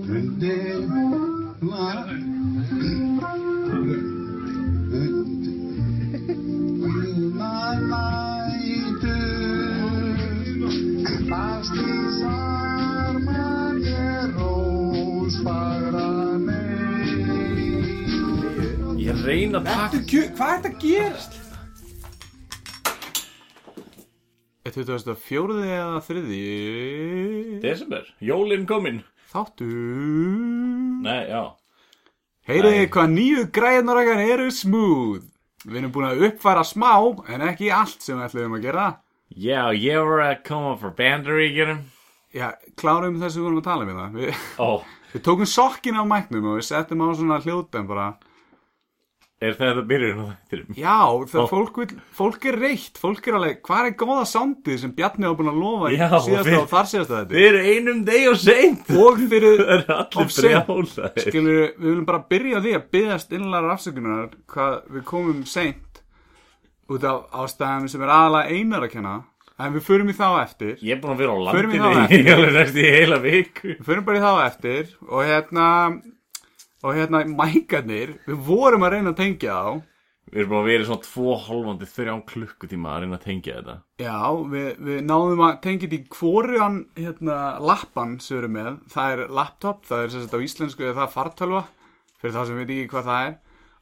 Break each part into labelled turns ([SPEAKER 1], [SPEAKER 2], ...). [SPEAKER 1] Önde var.
[SPEAKER 2] Ég reyna að taka
[SPEAKER 3] Kjö, hvað er þetta að gerast?
[SPEAKER 4] 2004 eða 3
[SPEAKER 2] Desember, jólinn komin
[SPEAKER 4] Þáttu
[SPEAKER 2] Nei, já
[SPEAKER 4] Heyrið
[SPEAKER 2] Nei.
[SPEAKER 4] hvað nýju græðnar okkar eru smooth Við erum búin að uppfæra smá En ekki allt sem við ætlum að gera
[SPEAKER 2] Já, ég var að koma frá bandaríkjunum
[SPEAKER 4] Já, klárum þess að við vorum að tala við það Við,
[SPEAKER 2] Ó,
[SPEAKER 4] við tókum sokkin af mæknum og við settum á svona hljóðbæm bara
[SPEAKER 2] er þetta byrjun á þættinum?
[SPEAKER 4] Já, það
[SPEAKER 2] Ó.
[SPEAKER 4] fólk, vil, fólk er reitt Fólk er alveg, hvað er góða sándið sem Bjarni var búin að lofa í
[SPEAKER 2] Já,
[SPEAKER 4] síðasta
[SPEAKER 2] við-
[SPEAKER 4] og þar síðasta þetta
[SPEAKER 2] Við erum einum deg og seint
[SPEAKER 4] Og fyrir
[SPEAKER 2] Það eru allir
[SPEAKER 4] Of seint.
[SPEAKER 2] brjálæðir
[SPEAKER 4] Skilur, við viljum bara byrja á því að byggast innlæra afsökunar hvað við komum seint út af ástæðum sem er aðalega einar að kenna en við förum í þá eftir
[SPEAKER 2] Ég er búin að vera á
[SPEAKER 4] Förum við
[SPEAKER 2] landinu
[SPEAKER 4] þá
[SPEAKER 2] í alveg næst í heila viku
[SPEAKER 4] við förum bara í þá eftir og hérna og hérna mækarnir við vorum að reyna að tengja þá
[SPEAKER 2] Við erum búin að vera í svona tvo hálfandi þrján klukkutíma að reyna að tengja þetta
[SPEAKER 4] já, við, við náðum að tengja því hvorugan hérna lappan sem við erum með, það er laptop það er sem sagt á íslensku eða það er fartölva fyrir þá sem við ekki hvað það er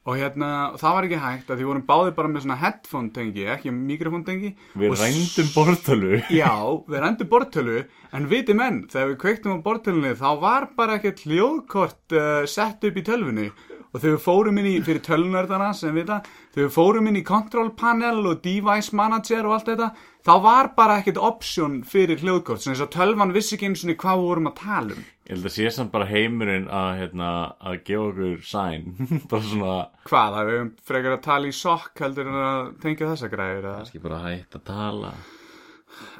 [SPEAKER 4] og hérna, það var ekki hægt að því vorum báðir bara með svona headphone tengi, ekki mikrofon tengi
[SPEAKER 2] Við rændum bortölu
[SPEAKER 4] Já, við rendum bortölu, en viti menn, þegar við kveiktum á bortölunni þá var bara ekkert hljóðkort uh, sett upp í tölfunni og þegar við fórum inn í, fyrir tölunördana sem vita, þegar við fórum inn í control panel og device manager og allt þetta, þá var bara ekkert option fyrir hljóðkort, sem þess að tölvan vissi ekki einu sinni hvað við vorum að tala um.
[SPEAKER 2] Ég held að sé samt bara heimurinn að, hérna, að gefa okkur sæn Bara svona
[SPEAKER 4] Hvað, það við frekar að tala í sokk heldur en að tengja þessa græður eða?
[SPEAKER 2] Kannski bara hægt að tala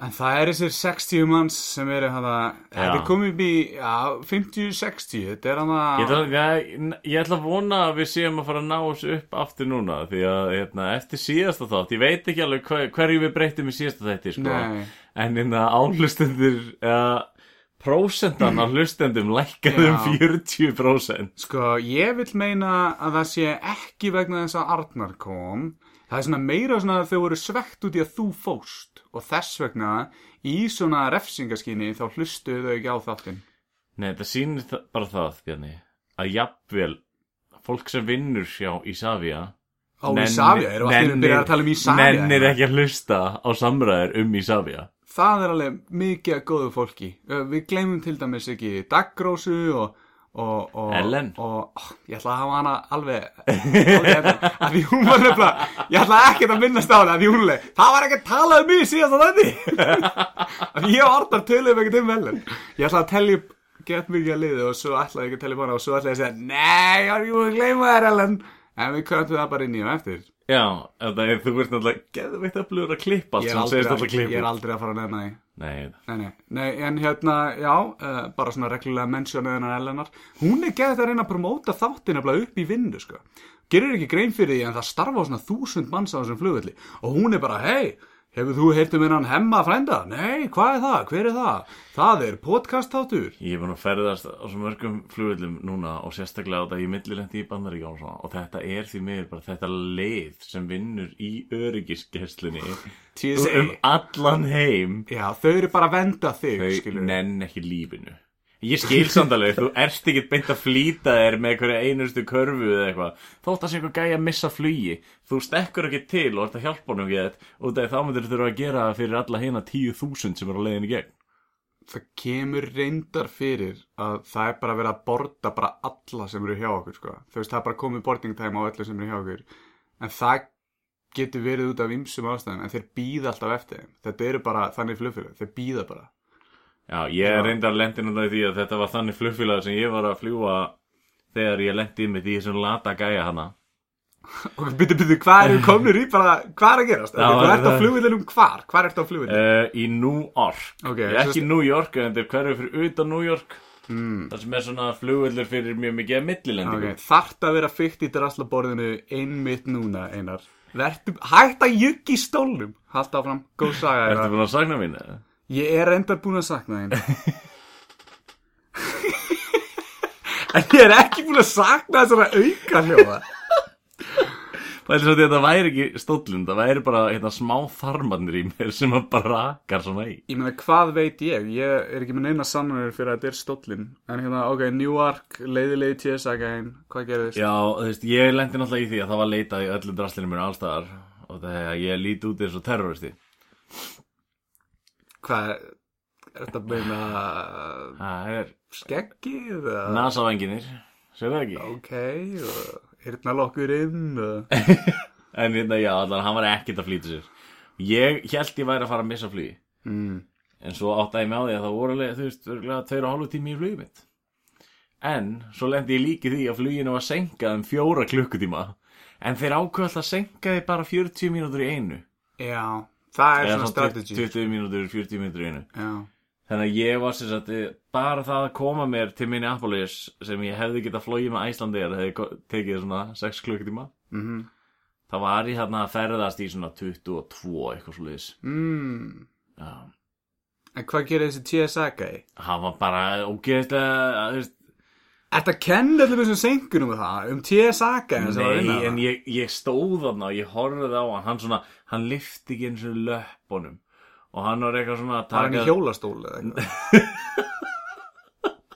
[SPEAKER 4] En það er þessir 60 manns sem eru hann að, þetta er komið upp í, já, 50-60, þetta er hann að...
[SPEAKER 2] Ég ætla, ég, ég ætla að vona að við séum að fara að ná þessu upp aftur núna því að hérna, eftir síðasta þátt ég veit ekki alveg hver, hverju við breytum í síðasta þætti sko.
[SPEAKER 4] Nei.
[SPEAKER 2] en hérna álustendur uh, prósentan af hlustendum lækkaði um
[SPEAKER 4] Já.
[SPEAKER 2] 40%
[SPEAKER 4] Sko, ég vil meina að það sé ekki vegna þess að Arnar kom. Það er svona meira svona að þau voru svegt út í að þú fóst og þess vegna í svona refsingaskinni þá hlustuðu þau ekki á þáttinn.
[SPEAKER 2] Nei, þetta sýnir þa- bara það Bjarni, að jafnvel fólk sem vinnur hjá Ísafja
[SPEAKER 4] Á Ísafja, erum við allir að byrja að tala um Ísafja?
[SPEAKER 2] Nennir ekki að hlusta á samræður um Ísafja
[SPEAKER 4] Það er alveg mikið að góðu fólki. Ö, Við gleymum til dæmis ekki Daggrósu og Og, og,
[SPEAKER 2] Ellen.
[SPEAKER 4] og ó, ég ætla að hafa hana alveg alveg hérna, af því hún var nefnilega ég ætla ekkert að minnast á hana af því hún er leið það var ekki að tala um mig síðast á þenni af því ég og Arnar töluðum ekkert um Ellen ég ætla að telja upp gett mikið að liðu og svo ætla ég ekki að telja upp hana og svo ætla ég að segja nei, ég var ekki búin að gleyma þér Ellen en við köndum það bara inn í og eftir
[SPEAKER 2] Já, þetta er, þú ert náttúrulega geðveitt að blöður að klippa allt
[SPEAKER 4] ég
[SPEAKER 2] sem
[SPEAKER 4] er
[SPEAKER 2] þú segist
[SPEAKER 4] aldrei,
[SPEAKER 2] alltaf klippa.
[SPEAKER 4] ég er aldrei að fara að nefna því
[SPEAKER 2] Nei,
[SPEAKER 4] Nei, nei, nei, en hérna, já, uh, bara svona reglulega mennsjónu hennar Elenar, hún er geðið að reyna að promóta þáttin nefnilega upp í vinnu, sko. Gerir ekki grein fyrir því en það starfa á svona þúsund manns á þessum flugvelli og hún er bara, hei, hefur þú heyrt um hennan hemma frænda? Nei, hvað er það? Hver er það? Það er podcast þáttur.
[SPEAKER 2] ég er búin að ferðast á svo mörgum flugvillum núna og sérstaklega á þetta ég millilendi í Bandaríkjá og svona og þetta er því miður bara þetta leið sem vinnur í öryggiskeslunni
[SPEAKER 4] TSA.
[SPEAKER 2] um allan heim
[SPEAKER 4] Já, þau eru bara að venda þig,
[SPEAKER 2] þau
[SPEAKER 4] skilur.
[SPEAKER 2] nenn ekki lífinu. Ég skil samt alveg, þú ert ekki beint að flýta þér með einhverja einustu körfu eða eitthvað. Þótt að sé einhver gæja að missa flugi, þú stekkur ekki til og ert að hjálpa honum ekki þetta og það er þá myndir þú þurfa að gera það fyrir alla hina 10.000 sem eru á leiðinu í gegn.
[SPEAKER 4] Það kemur reyndar fyrir að það er bara verið að borda bara alla sem eru hjá okkur, sko. Þú veist, það er bara komið boarding time á öllu sem eru hjá okkur. En það getur verið út af ymsum ástæðum, en þeir býða alltaf eftir þeim. Þetta eru bara þannig flugfélög, þeir býða bara.
[SPEAKER 2] Já, ég Já. reyndar lendi náttúrulega í því að þetta var þannig flugfélag sem ég var að fljúa þegar ég lendi í mig því sem lata gæja hana.
[SPEAKER 4] Og byrju, byrju, hvað eru komnir í bara, hvað er að gerast?
[SPEAKER 2] Já,
[SPEAKER 4] Já, hvað
[SPEAKER 2] það-
[SPEAKER 4] ert á flugvillunum hvar? Hvað ert á flugvillunum?
[SPEAKER 2] Uh, í New York.
[SPEAKER 4] Mm. Ok,
[SPEAKER 2] ég er ekki
[SPEAKER 4] sem-
[SPEAKER 2] í New York, en þetta er hverju fyrir utan New York. Mm. Það sem er svona flugvillur fyrir mjög mikið að millilendingu.
[SPEAKER 4] Okay. Þart að vera fyrt í draslaborðinu einmitt núna, Einar. Vertu, hætt að juggi í stólnum. Haldt áfram, góð saga, Einar.
[SPEAKER 2] Ertu búin að sakna mín? eða?
[SPEAKER 4] Ég er reyndar búin að sakna þín En ég er ekki búin að sakna þessara auka hljóða
[SPEAKER 2] Það er svo að þetta væri ekki stóllin, það væri bara hérna, smá þarmarnir í mér sem að bara rakar svona í.
[SPEAKER 4] Ég meina, hvað veit ég? Ég er ekki með neina sannanir fyrir að þetta er stóllinn En hérna, ok, Newark, leiðilegi TSA gæn Hvað gerðist?
[SPEAKER 2] Já, þú veist, ég lendi náttúrulega í því að það var leitað í öllum draslinu mér allstaðar og það er að ég líti út eins og terroristi.
[SPEAKER 4] Hvað, er þetta meina
[SPEAKER 2] Það er
[SPEAKER 4] skeggið?
[SPEAKER 2] Ah.
[SPEAKER 4] eða?
[SPEAKER 2] NASA-venginir, séu það ekki?
[SPEAKER 4] Ok, og hérna lokkur inn og...
[SPEAKER 2] En hérna, já, allan, hann var ekkert að flýta sér. Ég held ég væri að fara að missa flugi.
[SPEAKER 4] mm.
[SPEAKER 2] En svo áttaði ég mig á því að það voru alveg, þú veist, örgulega tveir og hálfu tími í flugið mitt. En svo lendi ég líki því að fluginu var senkað um fjóra klukkutíma. En þeir ákveða alltaf að senka því bara 40 mínútur í einu.
[SPEAKER 4] Já, það er
[SPEAKER 2] Eða
[SPEAKER 4] svona
[SPEAKER 2] svona 20
[SPEAKER 4] strategy
[SPEAKER 2] 20 mínútur, 40 mínútur í einu.
[SPEAKER 4] Já,
[SPEAKER 2] Þannig að ég var sem sagt, eh, bara það að koma mér til Minneapolis sem ég hefði getað flogið með Æslandi eða hefði ko- tekið svona 6 klukkutíma.
[SPEAKER 4] mhm
[SPEAKER 2] Það var ég þarna að ferðast í svona 22 eitthvað svo liðis.
[SPEAKER 4] Mm.
[SPEAKER 2] Já.
[SPEAKER 4] En hvað gerir þessi TSA gæi?
[SPEAKER 2] Það var bara ógeðislega, þú veist,
[SPEAKER 4] Ertu að kenna öllum þessum senkunum við það? Um TSA gæi sem var að vinna
[SPEAKER 2] Nei, en
[SPEAKER 4] það?
[SPEAKER 2] ég, ég stóð þarna og ég horfði á hann, hann svona, hann lifti ekki eins og löppunum og hann var eitthvað svona að
[SPEAKER 4] Var hann
[SPEAKER 2] taka
[SPEAKER 4] í hjólastóli eða eitthvað?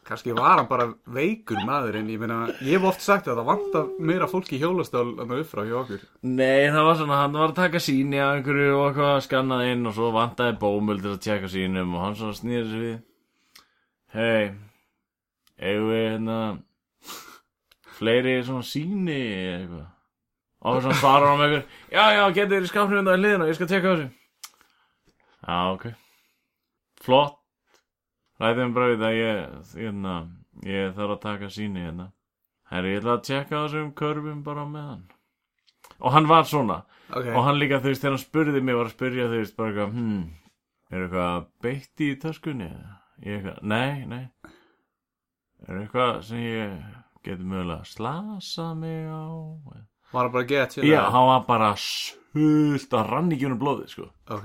[SPEAKER 4] Kanski var hann bara veikur maður en ég meina, ég hef oft sagt að það vantar meira fólk í hjólastól en það upp frá hjá okkur.
[SPEAKER 2] Nei, það var svona, hann var að taka síni af einhverju og eitthvað skannað inn og svo vantaði bómul til að tjekka sínum og hann svona snýði sér við Hei, eigum við hérna fleiri svona síni eða eitthvað og svona svarar hann með einhver Já, já, getur þér í skapnum undan hliðina, ég skal tjekka á þessu Já, ok Flott Ræðum bara við að ég, hérna, ég þarf að taka síni hérna Herri, ég ætla að tjekka á þessum körfum bara með hann Og hann var svona
[SPEAKER 4] Ok,
[SPEAKER 2] Og hann líka, þú veist, þegar hann spurði mig var að spurja, þú veist, bara eitthvað hmm, Er eitthvað beitt í töskunni? eða?" Ég eitthvað, nei, nei Er eitthvað sem ég getur mögulega slasa mig á
[SPEAKER 4] var hann bara að geta til
[SPEAKER 2] Já,
[SPEAKER 4] það?
[SPEAKER 2] hann var bara sult að rann ekki unum blóði, sko
[SPEAKER 4] Ok,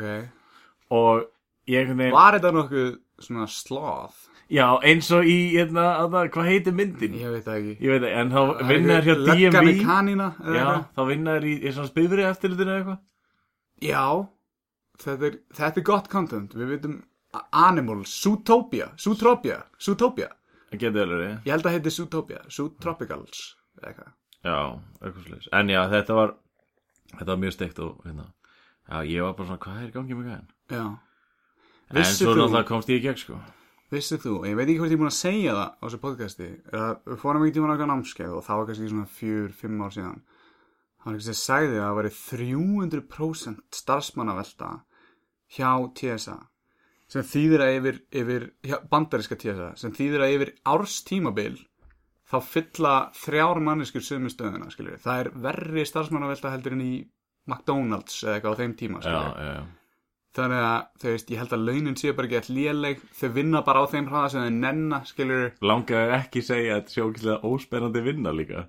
[SPEAKER 2] Og ég einhvern veginn
[SPEAKER 4] var þetta nokkuð svona sloth?
[SPEAKER 2] Já, eins og í, hérna, hérna, hvað heitir myndin?
[SPEAKER 4] Ég veit það ekki.
[SPEAKER 2] Ég veit það, en þá vinnar hjá DMV
[SPEAKER 4] Löggan í kanina? eða
[SPEAKER 2] Já,
[SPEAKER 4] eitthvað?
[SPEAKER 2] þá vinnar í, í svona spifri eftirlutinu eða eitthvað
[SPEAKER 4] Já, þetta er, þetta er gott content. Við veitum Animals, Zootopia, Zootropia, Zootopia.
[SPEAKER 2] Það getur alveg verið.
[SPEAKER 4] Ég held að heiti Zootopia, Zootropicals, eða eitthvað.
[SPEAKER 2] Já, eitthvað slags En já, þetta var Þetta var mjög steikt og hérna Já, ég var bara svona, hvað er í gangi með gæðin?
[SPEAKER 4] Já.
[SPEAKER 2] En
[SPEAKER 4] Vissir
[SPEAKER 2] svo
[SPEAKER 4] þú-
[SPEAKER 2] náttúrulega komst ég í gegn, sko
[SPEAKER 4] Vissið þú, ég veit ekki hvort ég er búin að segja það á þessu podcasti, er að við fórum ekki tíma náttúrulega námskeið og það var kannski svona fjör, fimm ár síðan. Það var ekki sem sagði að það væri 300% starfsmannavelta hjá TSA sem þýðir að yfir, yfir hjá, bandariska TSA, sem þýðir að yfir árs tímabil þá fylla þrjár manneskur sömu stöðuna, skilur við. Það er verri starfsmannavelta heldur en í McDonalds eða eitthvað á þeim tíma,
[SPEAKER 2] Já,
[SPEAKER 4] skilur við
[SPEAKER 2] já, já
[SPEAKER 4] þannig að þau veist, ég held að launin séu bara ekki all léleg, þau vinna bara á þeim hraða sem þau nenna, skilur
[SPEAKER 2] Langaði ekki segja að þetta sé ókvæslega óspennandi vinna líka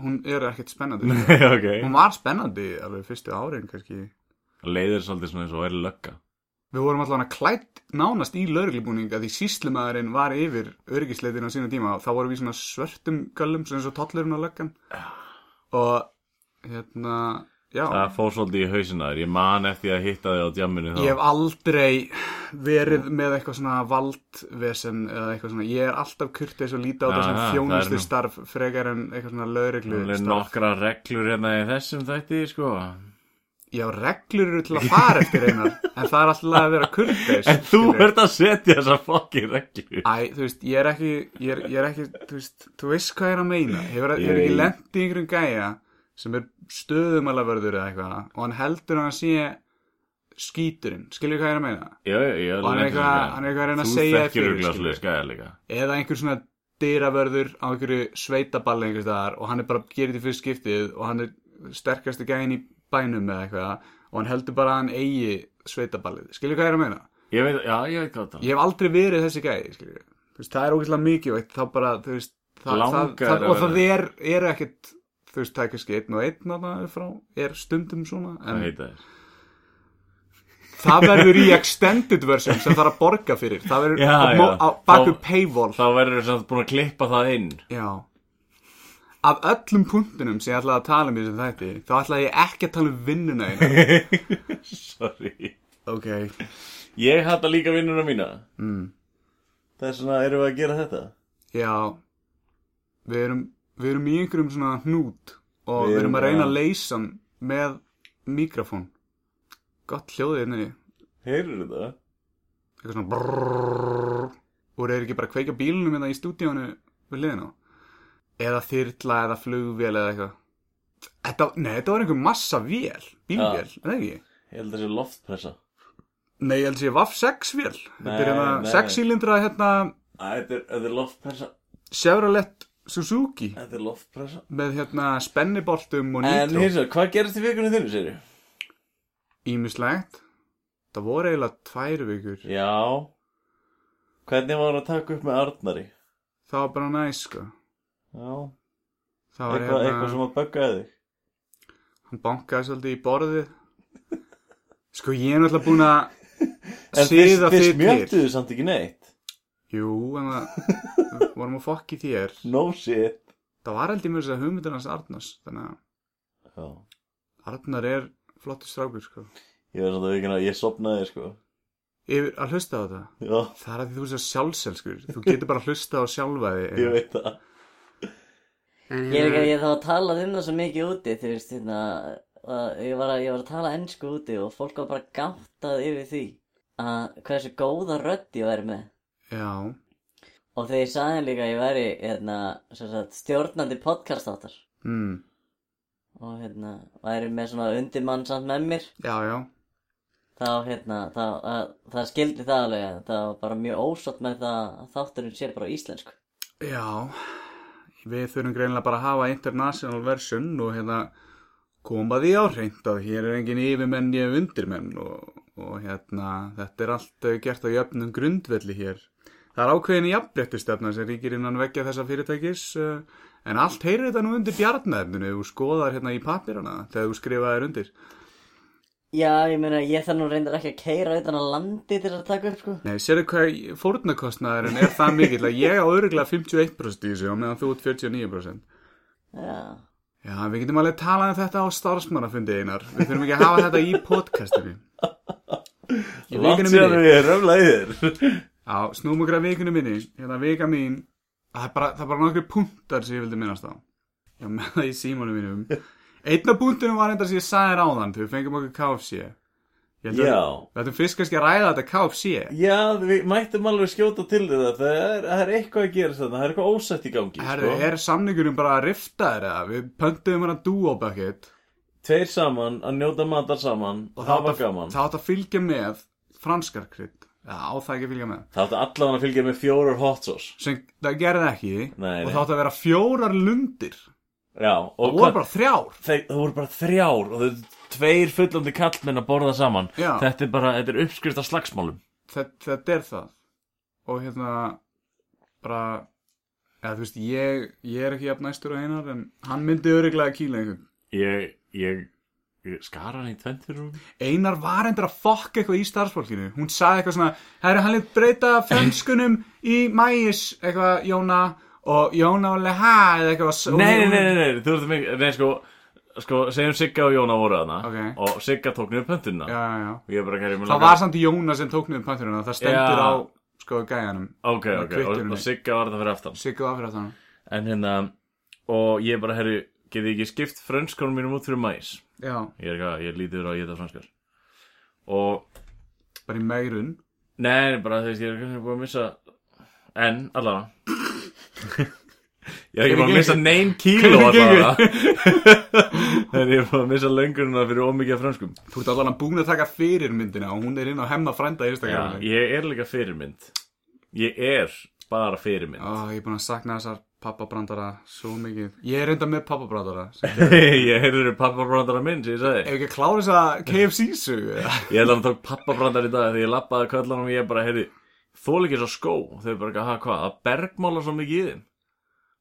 [SPEAKER 4] hún er ekkert spennandi
[SPEAKER 2] Nei, ok
[SPEAKER 4] hún var spennandi alveg fyrstu árin kannski
[SPEAKER 2] Leiðir svolítið svona eins og væri lögga
[SPEAKER 4] við vorum allan að klætt nánast í lauruglibúning að því síslumæðurinn var yfir örgisleitin á sína tíma og þá vorum við í svona svörtum göllum sem svo tollurinn á löggan og hérna já,
[SPEAKER 2] Það fór svolítið í hausinar Ég man eftir að hitta þig á djamminu þá
[SPEAKER 4] Ég hef aldrei verið með eitthvað svona valdvesen eða eitthvað svona, ég er alltaf kurtið svo lítið á
[SPEAKER 2] Já,
[SPEAKER 4] þetta
[SPEAKER 2] já,
[SPEAKER 4] sem
[SPEAKER 2] það er
[SPEAKER 4] þjónustu
[SPEAKER 2] nú.
[SPEAKER 4] starf frekar en eitthvað svona lögreglu
[SPEAKER 2] Það er
[SPEAKER 4] starf.
[SPEAKER 2] nokkra reglur hérna í þessum þætti, sko
[SPEAKER 4] Já, reglur eru til að fara eftir einar, en það er alltaf að vera kurteis.
[SPEAKER 2] En þú
[SPEAKER 4] skilur.
[SPEAKER 2] ert að setja þessa fokki reglur
[SPEAKER 4] Æ, þú veist, ég er ekki, ég er, ég er ekki, þú veist, þú veist hvað ég er að meina. Hefur, ég er
[SPEAKER 2] Ég
[SPEAKER 4] ekki
[SPEAKER 2] veit.
[SPEAKER 4] lent í einhverjum gæja sem er stöðumalavörður eða eitthvað og hann heldur að hann sé skíturinn, skilur hvað ég er að meina?
[SPEAKER 2] Jú, jú, jú
[SPEAKER 4] Og hann er eitthvað- hann er eitthvað að reyna að segja þér
[SPEAKER 2] Þú þekkir
[SPEAKER 4] fyrir,
[SPEAKER 2] örugglega
[SPEAKER 4] skilur.
[SPEAKER 2] svoleiðis gæja líka
[SPEAKER 4] eða einhver svona dyravörður á einhverju sveitaballi einhvers staðar og hann er bara að gera þetta í fyrst skiptið og hann er sterkasti gæinn í bænum eða eitthvað og hann heldur bara að hann eigi sveitaballið, skilju hvað ég er að meina?
[SPEAKER 2] Ég veit, já, ég veit hvað það
[SPEAKER 4] Ég hef aldrei verið þessi gæi, skilju þú veist, það er ógeðslega mikilvægt, þá bara þú veist, það, það,
[SPEAKER 2] Langar
[SPEAKER 4] það,
[SPEAKER 2] að
[SPEAKER 4] og það
[SPEAKER 2] vera.
[SPEAKER 4] er, er ekkit þú veist, það er kannski einn og einn þarna upp frá, er stundum svona
[SPEAKER 2] Hvað
[SPEAKER 4] en
[SPEAKER 2] heita þér?
[SPEAKER 4] það verður í extended version sem þarf að borga fyrir það verður
[SPEAKER 2] Já,
[SPEAKER 4] á,
[SPEAKER 2] já.
[SPEAKER 4] á baku
[SPEAKER 2] Þá-
[SPEAKER 4] paywall
[SPEAKER 2] Þá verður þess að búin að klippa það inn
[SPEAKER 4] Já Af öllum punktunum sem ég ætlaði að tala um í þessum þætti Þá ætlaði ég ekki að tala um vinnuna einu
[SPEAKER 2] Sorry
[SPEAKER 4] Ok
[SPEAKER 2] Ég hata líka vinnuna mína mm. Þess vegna erum við að gera þetta
[SPEAKER 4] Já Við erum, við erum í einhverjum svona hnút Og
[SPEAKER 2] Við
[SPEAKER 4] við erum
[SPEAKER 2] erum
[SPEAKER 4] að reyna
[SPEAKER 2] að-
[SPEAKER 4] að leysa hann með mikrofón Gott hljóðið inni
[SPEAKER 2] Heyrðu það?
[SPEAKER 4] Eitthvað svona brrrr Og þeir ekki bara að kveika bílunum hérna í stúdíónu við liðina Eða þyrla eða flugvél eða eitthvað Þetta, nei, þetta var einhver massa vél, bílvél, ja. eða ekki?
[SPEAKER 2] Ég held að þessi loftpressa
[SPEAKER 4] Nei, ég held að sé Vaff 6 vél Þetta
[SPEAKER 2] Nei,
[SPEAKER 4] er hérna
[SPEAKER 2] nei.
[SPEAKER 4] 6 sílindra hérna
[SPEAKER 2] Æ, Þetta er, þetta er loftpressa
[SPEAKER 4] Chevrolet Suzuki
[SPEAKER 2] Þetta er loftpressa
[SPEAKER 4] með hérna spenniboltum og
[SPEAKER 2] En
[SPEAKER 4] nýtró
[SPEAKER 2] hins vegar, hvað gerist í vikunni þinni, segir ég?
[SPEAKER 4] Ímislegt Það voru eiginlega tvær vikur
[SPEAKER 2] Já Hvernig var að taka upp með Arnari?
[SPEAKER 4] Það var bara næs sko
[SPEAKER 2] Já
[SPEAKER 4] Það var
[SPEAKER 2] Eitthvað,
[SPEAKER 4] hérna,
[SPEAKER 2] eitthvað sem að böggaði þig
[SPEAKER 4] hann bankaði svolítið í borðið Sko ég er náttúrulega búin að
[SPEAKER 2] En
[SPEAKER 4] síða
[SPEAKER 2] þið
[SPEAKER 4] þig til
[SPEAKER 2] smjölduðu samt ekki neitt
[SPEAKER 4] Jú, en það vorum að fokki þér
[SPEAKER 2] No shit
[SPEAKER 4] Það var held ég mér þess að hugmyndir hans Arnars Þannig
[SPEAKER 2] Já
[SPEAKER 4] að Arnar er flottur strákur sko
[SPEAKER 2] Ég verði samt að vikuna, ég sopnaði sko
[SPEAKER 4] Yfir að hlusta á þetta
[SPEAKER 2] Já,
[SPEAKER 4] Það er að því þú sér sjálfselskur. Þú getur bara að hlusta á sjálfa þig.
[SPEAKER 2] ég veit það
[SPEAKER 3] Ég er ekki að ég þá talað um það svo mikið úti, þú veist, hérna, að ég var að, ég var að tala ennsku úti og fólk var bara gáttað yfir því að hversu góða rödd ég væri með.
[SPEAKER 4] Já,
[SPEAKER 3] Og þegar ég sagði líka að ég væri, hérna, sem sagt, stjórnandi podcastáttar
[SPEAKER 4] mm.
[SPEAKER 3] og, hérna, væri með svona undirmann samt með mér,
[SPEAKER 4] já, já.
[SPEAKER 3] þá, hérna, þá, að, það skildi það alveg, að það var bara mjög ósátt með það að þátturinn sé bara á íslensku.
[SPEAKER 4] Já, við þurfum greinilega bara að hafa international version og hérna koma því á hreint að hér er engin yfirmenn ég undirmenn og, og hérna þetta er allt eh, gert á jöfnum grundvelli hér. Það er ákveðin jafnbrettistefna sem ríkir innan veggja þessa fyrirtækis eh, en allt heyrir þetta nú undir bjarnæfninu ef þú skoðar hérna í pappirana þegar þú skrifaðir undir.
[SPEAKER 3] Já, ég meina, ég þarf nú reyndar ekki að keira utan að landi til að taka upp, sko.
[SPEAKER 4] Nei, sérðu hvað fórnarkostnaðurinn er það mikill að ég á öruglega 51% í þessu og meðan þú út 49%.
[SPEAKER 3] Já.
[SPEAKER 4] Já, við getum alveg talað um þetta á starfsmannafundi einar. Við þurfum ekki að hafa þetta í podcastinu. Í
[SPEAKER 2] Látt
[SPEAKER 4] vikunni
[SPEAKER 2] sér að
[SPEAKER 4] minni.
[SPEAKER 2] ég röflaði þér
[SPEAKER 4] Já, snúum okkur að vikunni minni. Hérna, vika mín. Það er bara, það er bara nokkri punktar sem ég vildi minnast á. Já, með það í símónu mínum. Einn af punktunum var þetta sem ég sagði ráðan þegar við fengum okkur KFC. Ég held að-
[SPEAKER 2] Já
[SPEAKER 4] Við ættum fyrst kannski að ræða þetta KFC.
[SPEAKER 2] Já, við mættum alveg skjóta til þér það það er, það er eitthvað að gera þetta, það er eitthvað ósætt í gangi
[SPEAKER 4] Herru,
[SPEAKER 2] sko.
[SPEAKER 4] er samningurum bara að rifta þér eða? Við pöntuðum hana duo-bucket
[SPEAKER 2] Tveir saman, að njóta matar saman,
[SPEAKER 4] og
[SPEAKER 2] það var gaman
[SPEAKER 4] það átt að fylgja með franskar krydd. Já, á það ekki að fylgja með.
[SPEAKER 2] Það átti allan að fylgja með fjórar hot sauce
[SPEAKER 4] Sem það gerði ekki
[SPEAKER 2] Nei,
[SPEAKER 4] og
[SPEAKER 2] nei.
[SPEAKER 4] það átt að vera fjórar lundir.
[SPEAKER 2] Já, og
[SPEAKER 4] Það voru bara þrjár.
[SPEAKER 2] Þeir, það voru bara þrjár og þau tveir fullandi kallmenn að borða saman
[SPEAKER 4] Já.
[SPEAKER 2] Þetta er bara, þetta er uppskrift af slagsmálum
[SPEAKER 4] Þetta, þetta er það. Og hérna, bara, eða þú veist, ég, ég er ekki jafn næstur á einar en hann myndi öruglega að kýla einhvern.
[SPEAKER 2] Ég, ég, ég skara hann í tventur og
[SPEAKER 4] Einar var endur að fokka eitthvað í starfsfólkinu hún sagði eitthvað svona herri hann leit breyta frönskunum í mæis eitthvað Jóna og Jóna var alveg ha eða eitthvað og-
[SPEAKER 2] Nei, nei, nei, nei, nei, þú ert mikið, nei, sko, sko, segjum Sigga og Jóna voru þarna
[SPEAKER 4] Ok.
[SPEAKER 2] Og Sigga tók niður pöntunna
[SPEAKER 4] já, já, já.
[SPEAKER 2] Ég er bara að
[SPEAKER 4] það var samt Jóna sem tók niður pænturinn það
[SPEAKER 2] Já.
[SPEAKER 4] stendur á sko gæjanum
[SPEAKER 2] Ok, ok,
[SPEAKER 4] Eða
[SPEAKER 2] og,
[SPEAKER 4] kvitturinni.
[SPEAKER 2] og Sigga var það fyrir aftan
[SPEAKER 4] Sigga var fyrir aftan hann
[SPEAKER 2] En hérna, og ég bara, herri, getið ekki skipt frönskunum mínum út fyrir mæs
[SPEAKER 4] já,
[SPEAKER 2] Ég er eitthvað, ég lítið úr að geta franskar Og,
[SPEAKER 4] bara í megrun
[SPEAKER 2] nei, bara þú veist, ég er kannski búin að missa En, allavega Ég er ekki búin að missa neinn kíló
[SPEAKER 4] Hvernig gengur?
[SPEAKER 2] allavega En ég er búin að missa löngurina fyrir ómikið af frönskum
[SPEAKER 4] þú ert allan búin að taka fyrir myndina og hún er inn á hemma frænda í
[SPEAKER 2] Já,
[SPEAKER 4] Instagraminni
[SPEAKER 2] ég er líka fyrirmynd Ég er bara fyrirmynd
[SPEAKER 4] Ó, ég er búin að sakna þessar pappabrandara svo mikið ég er enda með pappabrandara sem-
[SPEAKER 2] Ég heyrður pappabrandara minn sem ég sagði
[SPEAKER 4] Ef ekki að klára þess að KFC-sögu eða?
[SPEAKER 2] Ég held að hann tók pappabrandar í dag Þegar ég lappaði kallanum og ég bara heyrði Þól ekki svo skó Og Þau bara, ha, hvað, það bergmála svo mikið í þeim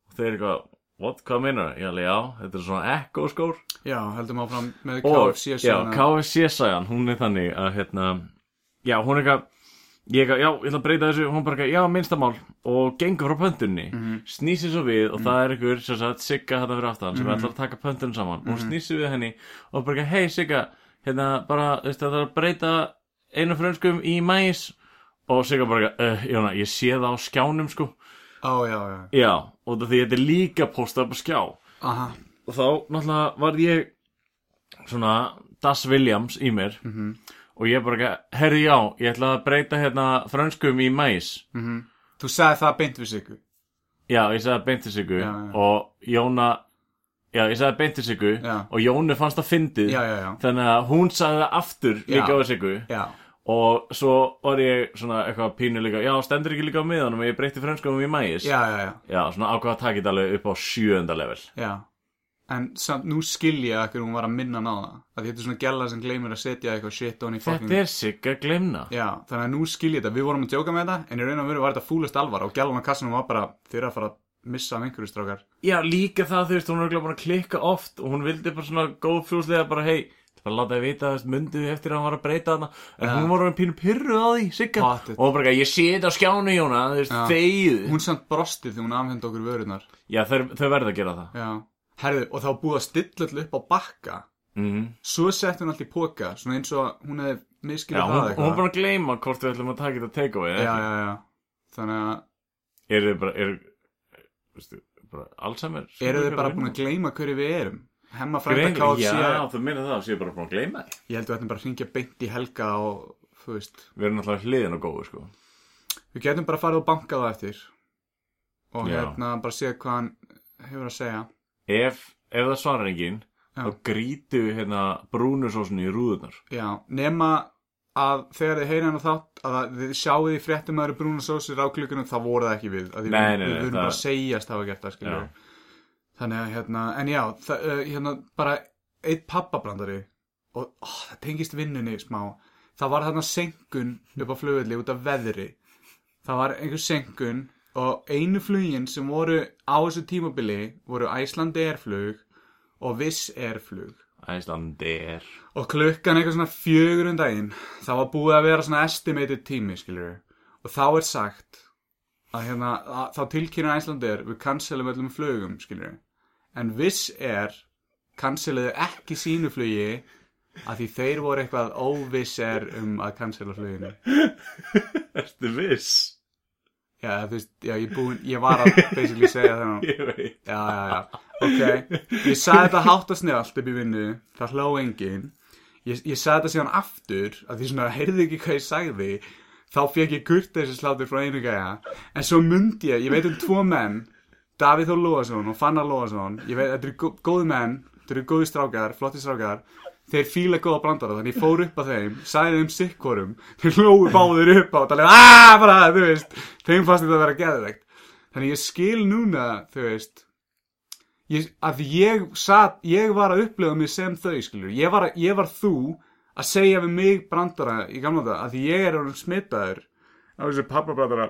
[SPEAKER 2] Og þau er eitthvað, What, hvað meinar? Ég alveg, já, þetta er svona echo skór
[SPEAKER 4] Já, heldum áfram með
[SPEAKER 2] Og-
[SPEAKER 4] KFC
[SPEAKER 2] Já,
[SPEAKER 4] söguna.
[SPEAKER 2] KFC sæjan, hún er þannig að hérna Já, hún er eitthvað Ég eitthvað, já, ég ætla að breyta þessu, hún bara eitthvað, já, minnstamál Og gengur frá pöntunni mm -hmm. Snýsir svo við og það er einhver sem sagt Sigga þetta fyrir aftan sem ætlar að taka pöntun saman Og hún snýsir við henni og bara eitthvað, hei Sigga Hérna, bara, veist það er að breyta Einu frönskum í mæs Og Sigga bara eitthvað, uh, Jóna, ég sé það á skjánum sko
[SPEAKER 4] Ó, já, já.
[SPEAKER 2] Já, og það því þetta er líka postað upp á skjá
[SPEAKER 4] Aha,
[SPEAKER 2] og þá náttúrulega varð ég svona Das Williams í mér
[SPEAKER 4] Mhm.
[SPEAKER 2] og ég bara ekki, herri já, ég ætla að breyta hérna frönskum í mæs
[SPEAKER 4] mhm. þú sagði það beint við sig.
[SPEAKER 2] já, ég sagði beintisíku
[SPEAKER 4] Já, já.
[SPEAKER 2] og Jóna já, ég sagði beintisíku
[SPEAKER 4] Já.
[SPEAKER 2] og Jónu fannst það fyndið
[SPEAKER 4] Já, já, já.
[SPEAKER 2] þannig að hún sagði það aftur líka á
[SPEAKER 4] Já.
[SPEAKER 2] síku
[SPEAKER 4] Já,
[SPEAKER 2] og svo var ég svona eitthvað pínu líka, já, stendur ekki líka á miðanum og ég breyti frönskum í mæs
[SPEAKER 4] já, já, já.
[SPEAKER 2] já svona ákvað að taka þetta alveg upp á sjöunda level
[SPEAKER 4] já. En samt nú skil ég að hverju hún var að minna hann á það. Að þetta er svona gæla sem gleymir að setja eitthvað shit on í fucking...
[SPEAKER 2] þetta er sigga glemna
[SPEAKER 4] Já, þannig að nú skil ég þetta. Við vorum að djóka með þetta, en í raun og veru var þetta fúlust alvar og gælan á kassanum var bara þeir eru að fara að missa af einhverju strákar.
[SPEAKER 2] Já, líka það, þú veist, hún er örugglega búin að klikka oft og hún vildi bara svona góðfjúslega bara, hei, bara láta þið vita, þú veist, mundu eftir að hann var að breyta hana en hún var með pínu pyrruð á því, sigga og
[SPEAKER 4] Pottet.
[SPEAKER 2] hún bara, eitthvað, ég sé þetta á skjánu, Jóna, þú veist,
[SPEAKER 4] Já.
[SPEAKER 2] þegið
[SPEAKER 4] Hún samt brostið þegar hún afhend okkur vörunar.
[SPEAKER 2] Já, þau, þau verða að gera það
[SPEAKER 4] Já. Herðu, og þá var búið að stilla allu upp á bakka.
[SPEAKER 2] mm.
[SPEAKER 4] Svo sett hún allt í póka, svona eins og hún hefði
[SPEAKER 2] Já,
[SPEAKER 4] miskilið
[SPEAKER 2] hún,
[SPEAKER 4] það
[SPEAKER 2] hún er búin að gleyma hvort við ætlum að taka þetta takeaway
[SPEAKER 4] já,
[SPEAKER 2] eða ekki.
[SPEAKER 4] já, já. Þannig að
[SPEAKER 2] Eru þið bara, eru, veistu, bara Alzheimer?
[SPEAKER 4] eru þið bara búin að gleyma hverju við erum? Hemma frænda
[SPEAKER 2] Grein,
[SPEAKER 4] KFC,
[SPEAKER 2] já, þú meina það, séu bara búin að gleyma þér.
[SPEAKER 4] ég held við ætlum bara að hringja beint í helga og, þú veist,
[SPEAKER 2] Við erum náttúrulega hliðin og góðu, sko.
[SPEAKER 4] við getum bara að fara og banka það eftir og
[SPEAKER 2] Já.
[SPEAKER 4] hérna bara séð hvað hann hefur að segja.
[SPEAKER 2] Ef, ef það svarar enginn,
[SPEAKER 4] Já.
[SPEAKER 2] þá grítu hérna brúnusósinu í rúðunar.
[SPEAKER 4] Já, nema að þegar þið heyra hann á þátt að það- þið sjáu því fréttum að það eru brúna sósir á klukkunum, það voru það ekki við. Að
[SPEAKER 2] Nei,
[SPEAKER 4] því við-
[SPEAKER 2] nei, nei,
[SPEAKER 4] Við
[SPEAKER 2] það-
[SPEAKER 4] vorum bara að segjast hafa gert það, skiljum. Þannig að hérna, en já, það, uh, hérna bara eitt pappabrandari og ó, það tengist vinnunni smá. Það var þarna senkun upp á flugvelli út af veðri. Það var einhver senkun og einu flugin sem voru á þessu tímabili voru Æslandi erflug og Viss erflug.
[SPEAKER 2] Æslander
[SPEAKER 4] Og klukkan eitthvað svona fjögur um daginn, það var búið að vera svona estimated tími, skiljur Og þá er sagt að hérna, að, þá tilkynna Æslandir við cancelum öllum flugum, skiljur En viss er, canceluðu ekki sínu flugi að því þeir voru eitthvað óviss er um að cancela fluginu.
[SPEAKER 2] Ertu viss?
[SPEAKER 4] Já, þú veist, já, ég, búin, ég var að basically segja það nú.
[SPEAKER 2] Ég veit
[SPEAKER 4] Já, já, já, ok. Ég sagði þetta hátt og snjált upp í vinnu, það hló enginn. Ég, ég sagði þetta síðan aftur, að því svona heyrði ekki hvað ég sagði, þá fekk ég kurta þessi slátur frá einu gæja. En svo myndi ég, ég veit um tvo menn, Davíð Þór Lóðarsson og Fannar Lóðarsson, ég veit, þetta eru gó- góði menn, þetta eru góði strákar, flotti strákar, þeir fíla góða brandara, þannig ég fór upp að þeim, sagði þeim sikkorum, þeir hlóðu báðir upp á, talið, aaa, bara, þú veist, þeim fannst þetta að vera geðvegt. Þannig ég skil núna, þú veist, ég, að ég, sat, ég var að upplifa mig sem þau, skilur. Ég var, að- ég var þú að segja við mig brandara í gamla þetta að því ég er orðin smitaður á þessu pappabrandara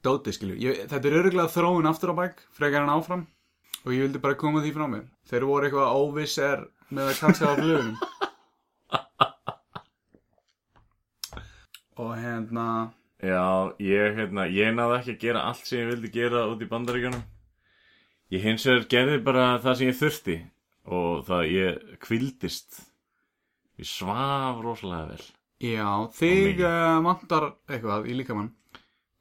[SPEAKER 4] dóti, skilur. Ég, þetta er öruglega þróun aftur á bæk, frekar en áfram og ég vildi bara koma því frá mér. Þeir voru eitthvað óviss er með að kannski á flugunum. og hérna,
[SPEAKER 2] Já, ég, hérna, ég náði ekki að gera allt sem ég vildi gera út í bandaríkjunum Ég hins vegar gerði bara það sem ég þurfti og það ég kvildist Ég svaf rosalega vel
[SPEAKER 4] já, þig uh, vantar eitthvað í líkamann.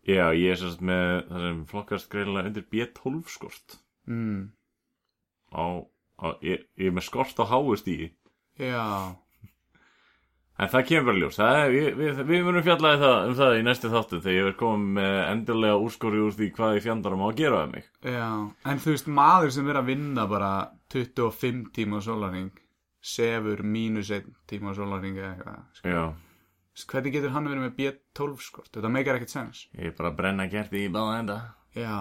[SPEAKER 2] Já, ég er sérst með það sem flokkast greinilega undir B12 skort
[SPEAKER 4] Mm.
[SPEAKER 2] á, á, ég, ég er með skort á háust í
[SPEAKER 4] Já,
[SPEAKER 2] En það kemur bara í ljós, það, er- við, við, við munum fjallaði það, um það í næstu þáttum þegar ég verð komið með endurlega úrskori úr því hvað ég fjandarum á að gera við mig.
[SPEAKER 4] Já, en þú veist, maður sem er að vinna bara 25 tíma sólaring sefur mínus 1 tíma sólaring eða eitthvað. Þú
[SPEAKER 2] Já,
[SPEAKER 4] veist, Hvernig getur hann verið með B12 skort? Þetta meikar ekkert sens.
[SPEAKER 2] ég er bara að brenna kerti í báða enda.
[SPEAKER 4] Já.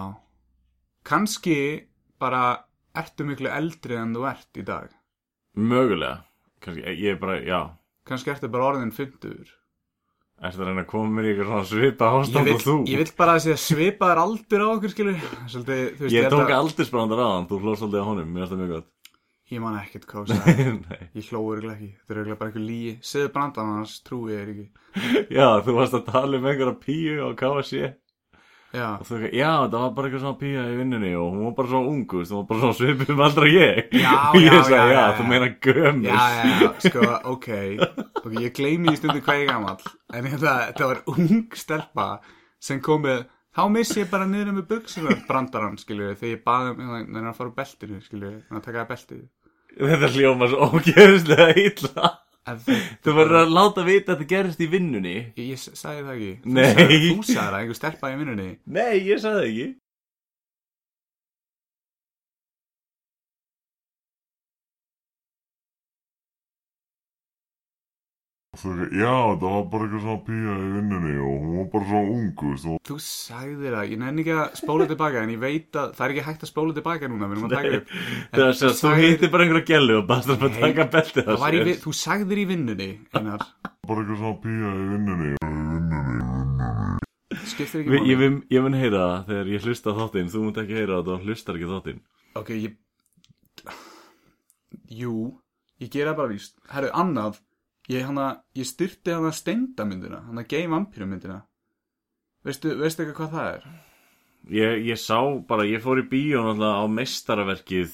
[SPEAKER 4] Kanski bara ertu miklu eldri en þú ert í dag.
[SPEAKER 2] Mögulega, kannski, ég er bara, já,
[SPEAKER 4] Kanski ertu bara orðin 50.
[SPEAKER 2] Ertu að reyna að koma mér í eitthvað svona svipa
[SPEAKER 4] Ég
[SPEAKER 2] ástand
[SPEAKER 4] vil,
[SPEAKER 2] og þú?
[SPEAKER 4] ég vil bara að sé að svipaður aldur á okkur skilur Svolítið, þú veist,
[SPEAKER 2] Ég tók
[SPEAKER 4] held að-
[SPEAKER 2] aldursbrandar á hann, þú hlóst aldrei á honum, mér finnst það mjög gott.
[SPEAKER 4] Ég man ekkert hvað þú sagði
[SPEAKER 2] Nei.
[SPEAKER 4] Ég hlóður ekki, þetta er eiginlega bara eitthvað líi Segðu brandan annars, trúi ég er ekki
[SPEAKER 2] Já, þú varst að tala um einhverja píu á KFC
[SPEAKER 4] Já,
[SPEAKER 2] og þú eitthvað, já, það var bara eitthvað svona píu í vinnunni og hún var bara svona ungu, þú veist, hún var bara svona svipum aldra ég.
[SPEAKER 4] Já,
[SPEAKER 2] Og ég
[SPEAKER 4] já,
[SPEAKER 2] sagði,
[SPEAKER 4] já,
[SPEAKER 2] já,
[SPEAKER 4] já,
[SPEAKER 2] þú
[SPEAKER 4] já.
[SPEAKER 2] meina gömur.
[SPEAKER 4] já, já, já, sko, ok Ok, ég gleymi í stundu hvað ég er gamall En ég held að þetta var ung stelpa Sem komið, þá missi ég bara niður með buksunar brandarann, skilur Þegar ég baði um, þannig að fara úr beltinu, skilur Þannig að taka að beltið
[SPEAKER 2] Þetta hljóma svo ógeðslega illa.
[SPEAKER 4] En þau-
[SPEAKER 2] Þú verður að láta vita að þetta gerist í vinnunni.
[SPEAKER 4] Ég, ég sagði það ekki Þú
[SPEAKER 2] Nei.
[SPEAKER 4] sagðir- Þú sagði það, einhver stelpa í vinnunni
[SPEAKER 2] Nei, ég sagði ekki.
[SPEAKER 5] Svo ekki, já, það var bara eitthvað svona píja í vinnunni og hún var bara svona ungu, veist, og
[SPEAKER 4] Þú sagðir það, ég nenni ekki að spóla tilbaka En ég veit að, það er ekki hægt að spóla tilbaka núna Við erum að taka upp
[SPEAKER 2] Það er að þú
[SPEAKER 4] sagðir-
[SPEAKER 2] hittir bara einhverja gælu og basta um að
[SPEAKER 4] Nei,
[SPEAKER 2] taka beltið á
[SPEAKER 4] Það var í, vi- þú sagðir í vinnunni, Einar
[SPEAKER 5] bara eitthvað svona píja í vinnunni.
[SPEAKER 4] Skiptir ekki
[SPEAKER 2] Vi,
[SPEAKER 4] máli
[SPEAKER 2] ég, mun, ég mun heyra það þegar ég hlusta á þáttinn, þú munt ekki heyra það og hlustar ekki á þáttinn.
[SPEAKER 4] Ok, ég Jú, ég gera það bara víst Herru, annað Ég, hana, ég styrti hana steindamyndina Hana gay vampírumyndina Veistu, veistu eitthvað hvað það er?
[SPEAKER 2] Ég, ég sá bara, ég fór í bíó náttúrulega á meistaraverkið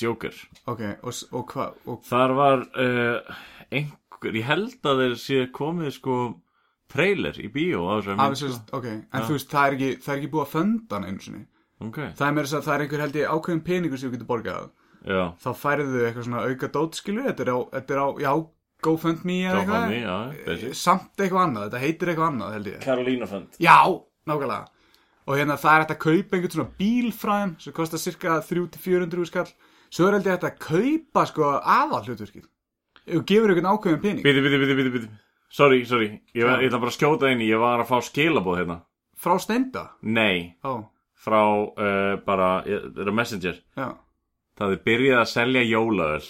[SPEAKER 2] Joker.
[SPEAKER 4] Ok, og, s- og hvað og,
[SPEAKER 2] Þar var uh, einhver, ég held að þeir sé komið sko trailer í bíó á þessari
[SPEAKER 4] af,
[SPEAKER 2] mynd.
[SPEAKER 4] sérst, Ok, en þú veist, það er ekki, það er ekki búið að fönda hana einu sinni
[SPEAKER 2] Ok,
[SPEAKER 4] Það er meira þess að það er einhver held ég ákveðin peningur sem þú getur borgað
[SPEAKER 2] já.
[SPEAKER 4] Þá færðu þau eitthvað svona auka dótskilu Þetta er á, þetta er á já, GoFundMe eða
[SPEAKER 2] Gáð hann í,
[SPEAKER 4] eitthvað
[SPEAKER 2] já, þessi.
[SPEAKER 4] Samt eitthvað annað, þetta heitir eitthvað annað held ég
[SPEAKER 2] Karolína fund.
[SPEAKER 4] Já, nákvæmlega Og hérna það er hægt að kaupa einhvern svona bíl frá þeim sem kostar cirka 300-400 skall Svo er heldur þetta að kaupa sko aðal hlutverkið Ef þú gefur einhvern ákveðin pening
[SPEAKER 2] Bíti, bíti, bíti, bíti, bíti. Sorry, sorry, ég, var,
[SPEAKER 4] Já.
[SPEAKER 2] ég ætla bara að skjóta inn í, ég var að fá skilabóð hérna.
[SPEAKER 4] Frá steinda
[SPEAKER 2] Nei,
[SPEAKER 4] Ó,
[SPEAKER 2] frá uh, bara, ég- þetta er á messenger.
[SPEAKER 4] já
[SPEAKER 2] Það er byrjað að selja jólaöl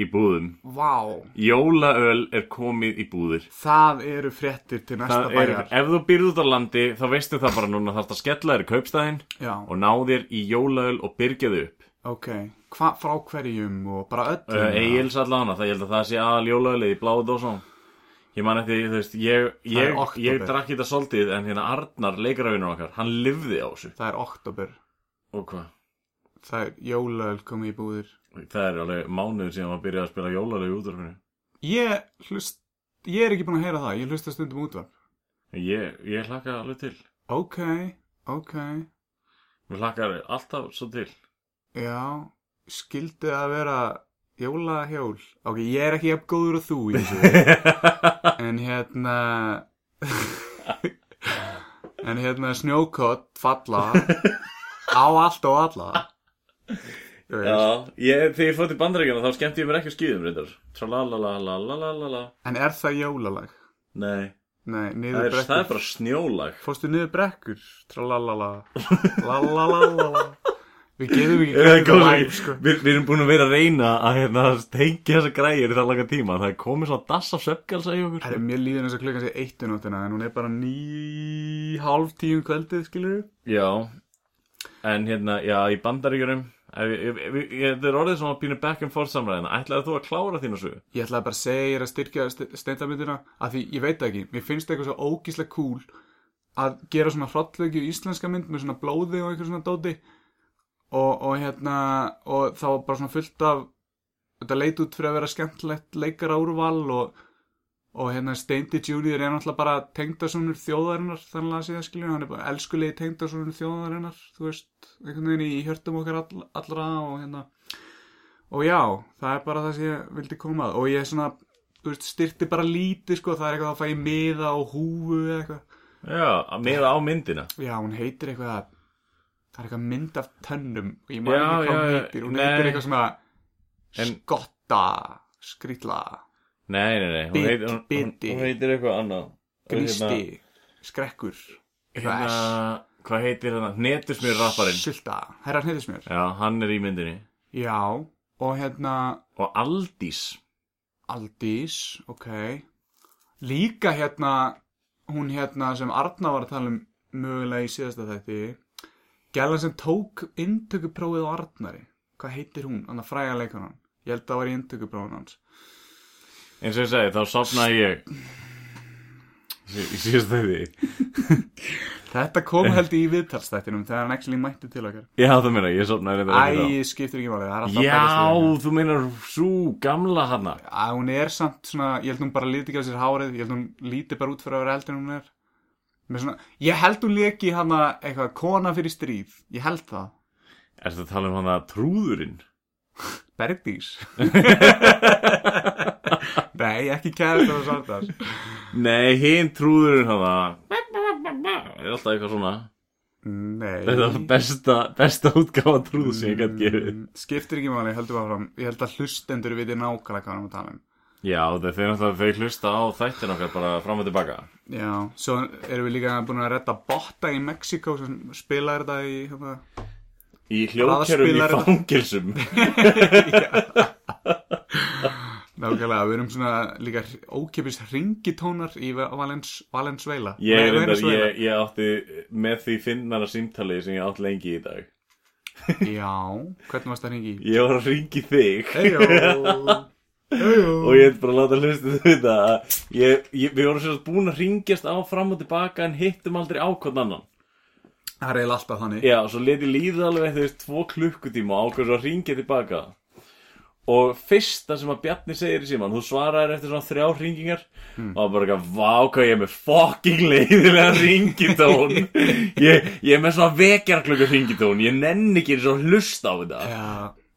[SPEAKER 2] í búðum.
[SPEAKER 4] Vá,
[SPEAKER 2] Jólaöl er komið í búðir.
[SPEAKER 4] það eru fréttir til næsta
[SPEAKER 2] Það er,
[SPEAKER 4] bæjar
[SPEAKER 2] ef þú býrð út á landi, þá veistu það bara núna þarfst að skella þér í kaupstæðin
[SPEAKER 4] Já,
[SPEAKER 2] og ná þér í jólaöl og byrgja þau upp.
[SPEAKER 4] ok Hva, Frá hverjum og bara öllum
[SPEAKER 2] Uh, Egils allan, það ég held að það sé aðal jólaölið í bláðu dósum. Ég man eftir, þú veist, ég,
[SPEAKER 4] er
[SPEAKER 2] ég,
[SPEAKER 4] október.
[SPEAKER 2] ég drakk þetta svolítið en hérna Arnar, leikaravinnur okkar, hann lifði á þessu.
[SPEAKER 4] Það er oktober
[SPEAKER 2] Og hvað?
[SPEAKER 4] Það er jólaöl komið í búðir
[SPEAKER 2] Það er alveg mánuður síðan maður byrjaði að spila jólaöl í útvarfinu.
[SPEAKER 4] Ég hlust Ég er ekki búin að heyra það, ég hlusta stundum útvarp
[SPEAKER 2] Ég, ég hlakka alveg til.
[SPEAKER 4] Ok, ok
[SPEAKER 2] Mér hlakkar alltaf svo til.
[SPEAKER 4] Já, skildi að vera jólahjól. Ok, ég er ekki jafn góður og þú í þessu. en hérna... en hérna snjókott falla á allt og alla. Þú veist.
[SPEAKER 2] Já, ég, þegar ég fótt í bandaríkjana þá skemmti ég mér ekki á skýðum reyndar Tralalalalalalala
[SPEAKER 4] En er það jólalag?
[SPEAKER 2] Nei,
[SPEAKER 4] Nei,
[SPEAKER 2] það
[SPEAKER 4] niður
[SPEAKER 2] er, það er
[SPEAKER 4] brekkur.
[SPEAKER 2] bara snjólag
[SPEAKER 4] Fórstu niður brekkur? Tralalala. Lalalala. Við getum ekki
[SPEAKER 2] Eh,
[SPEAKER 4] greitt
[SPEAKER 2] kom
[SPEAKER 4] það
[SPEAKER 2] svo
[SPEAKER 4] væm,
[SPEAKER 2] ekki.
[SPEAKER 4] sko.
[SPEAKER 2] Við við erum búin að vera að reyna að hérna, tengja þessa græjur í það langa tíma Það er komið svona dass á söfgalsa í okkur
[SPEAKER 4] Herri, mér líður eins og klukkan sé eitt um nóttina en hún er bara ný, hálf tíum kvöldið, skilur við?
[SPEAKER 2] Já, en hérna, já, í bandaríkjunum ef ég- ef ég- ég- Þetta er orðið svona pínu back and forth samræðina Ætlaði þú að klára þínu svo?
[SPEAKER 4] Ég ætlaði bara að segja að ég er að styrkja ste- steindamyndina að því ég veit það ekki, mér finnst eitthvað svo ógíslega cool að gera svona hrottleiki í íslenska mynd með svona blóði og eitthvað svona dóti og, og hérna og þá var bara svona fullt af þetta leit út fyrir að vera skemmtlegt leikara úrval og, og hérna Steindi Junior er náttúrulega bara tengdasonur þjóðarinnar þannig að segja skilja hann er bara elskulegi tengdasonur þjóðarinnar þú veist, einhvern veginn í hjörtum okkar all, allra og hérna Og já, það er bara það sem ég vildi koma að og ég svona, þú veist, styrti bara lítið sko, það er eitthvað að fæ ég miða og húfu eða eitthvað.
[SPEAKER 2] Já, að miða á myndina
[SPEAKER 4] Já, hún heitir eitthvað að, það er eitthvað mynd af tönnum og ég
[SPEAKER 2] Já,
[SPEAKER 4] maður ekki hvað hún
[SPEAKER 2] já,
[SPEAKER 4] heitir, hún
[SPEAKER 2] nei.
[SPEAKER 4] heitir eitthvað svona
[SPEAKER 2] En-
[SPEAKER 4] skotta, skrýtla,
[SPEAKER 2] Nei, nei, nei, hún
[SPEAKER 4] Bit-
[SPEAKER 2] heitir, hún, hún,
[SPEAKER 4] biti.
[SPEAKER 2] hún heitir eitthvað annað
[SPEAKER 4] grísti, skrekkur,
[SPEAKER 2] Hérna, hvað heitir hérna? Netusmjör rapparinn.
[SPEAKER 4] sulta, herra hnýðismjör.
[SPEAKER 2] Já, hann er í myndinni.
[SPEAKER 4] Já, og hérna
[SPEAKER 2] Og Aldís.
[SPEAKER 4] Aldís, ok, líka hérna hún hérna sem Arna var að tala um mögulega í síðasta þætti gælan sem tók inntökuprófið á Arnari hvað heitir hún, hann að fræga leikunan ég held að það var í inntökuprófin hans
[SPEAKER 2] eins og ég segi, þá sopnaði ég Í sí- í síðasta þætti
[SPEAKER 4] þetta kom held ég í viðtalsþættinum þegar hann actually mætti til okkar
[SPEAKER 2] Já, það meina, ég sopnaði reyndar ekki
[SPEAKER 4] Æ, skiptir ekki málið, það er
[SPEAKER 2] þá
[SPEAKER 4] alltaf bækast
[SPEAKER 2] Já, þú meinar svo gamla hana
[SPEAKER 4] að hérna. hún er samt svona, ég held hún bara líti ekki á sér hárið, ég held hún líti bara út fyrir að vera eldin en hún er Með svona, ég held hún leki hana eitthvað kona fyrir stríð, ég held það
[SPEAKER 2] Ertu að tala um hana trúðurinn?
[SPEAKER 4] Bergdís Nei, ekki kæðast að svartast
[SPEAKER 2] Nei, hinn trúðurinn hana Er alltaf eitthvað svona
[SPEAKER 4] Nei
[SPEAKER 2] Þetta var besta, besta útgáfa trúð sem ég gætt gefið
[SPEAKER 4] Mm, Skiptir ekki máli, höldum áfram Ég held að hlustendur viti nákvæmlega hvað hann að tala um
[SPEAKER 2] Já, þau, þau, náttúrulega- þau hlusta á þættin okkar bara fram og tilbaka
[SPEAKER 4] Já, svo erum við líka búin að redda botta í Mexiko sem spilaði þetta í hérna,
[SPEAKER 2] Í hljóðkerum í
[SPEAKER 4] Hraðaspilar-
[SPEAKER 2] fangilsum
[SPEAKER 4] Nákvæmlega, við erum svona líka ókipis ringitónar í Valens, Valensveila
[SPEAKER 2] Ég, reyndar, ég, ég átti með því finnara símtali sem ég átt lengi í dag
[SPEAKER 4] Já, hvernig varst það ringi í?
[SPEAKER 2] Ég var að ringi þig
[SPEAKER 4] Eyjó Eyjó
[SPEAKER 2] og ég ætti bara að láta hlustu þau þetta að ég, ég, við vorum sérst búin að ringjast á fram og tilbaka en hittum aldrei ákvæðan annan
[SPEAKER 4] Það er eiginlega alltaf þannig
[SPEAKER 2] já, svo leti líða alveg þú veist tvo klukkutíma og ákvæðan svo að ringja tilbaka og fyrsta sem að Bjarni segir í síman þú svaraðir eftir svona þrjá ringingar og bara eitthvað, vá hvað ég er með fucking leiðilega ringitón ég, ég er með svona vekjarklöku ringitón, ég nenni ekki eins og að hlusta á þetta
[SPEAKER 4] Já,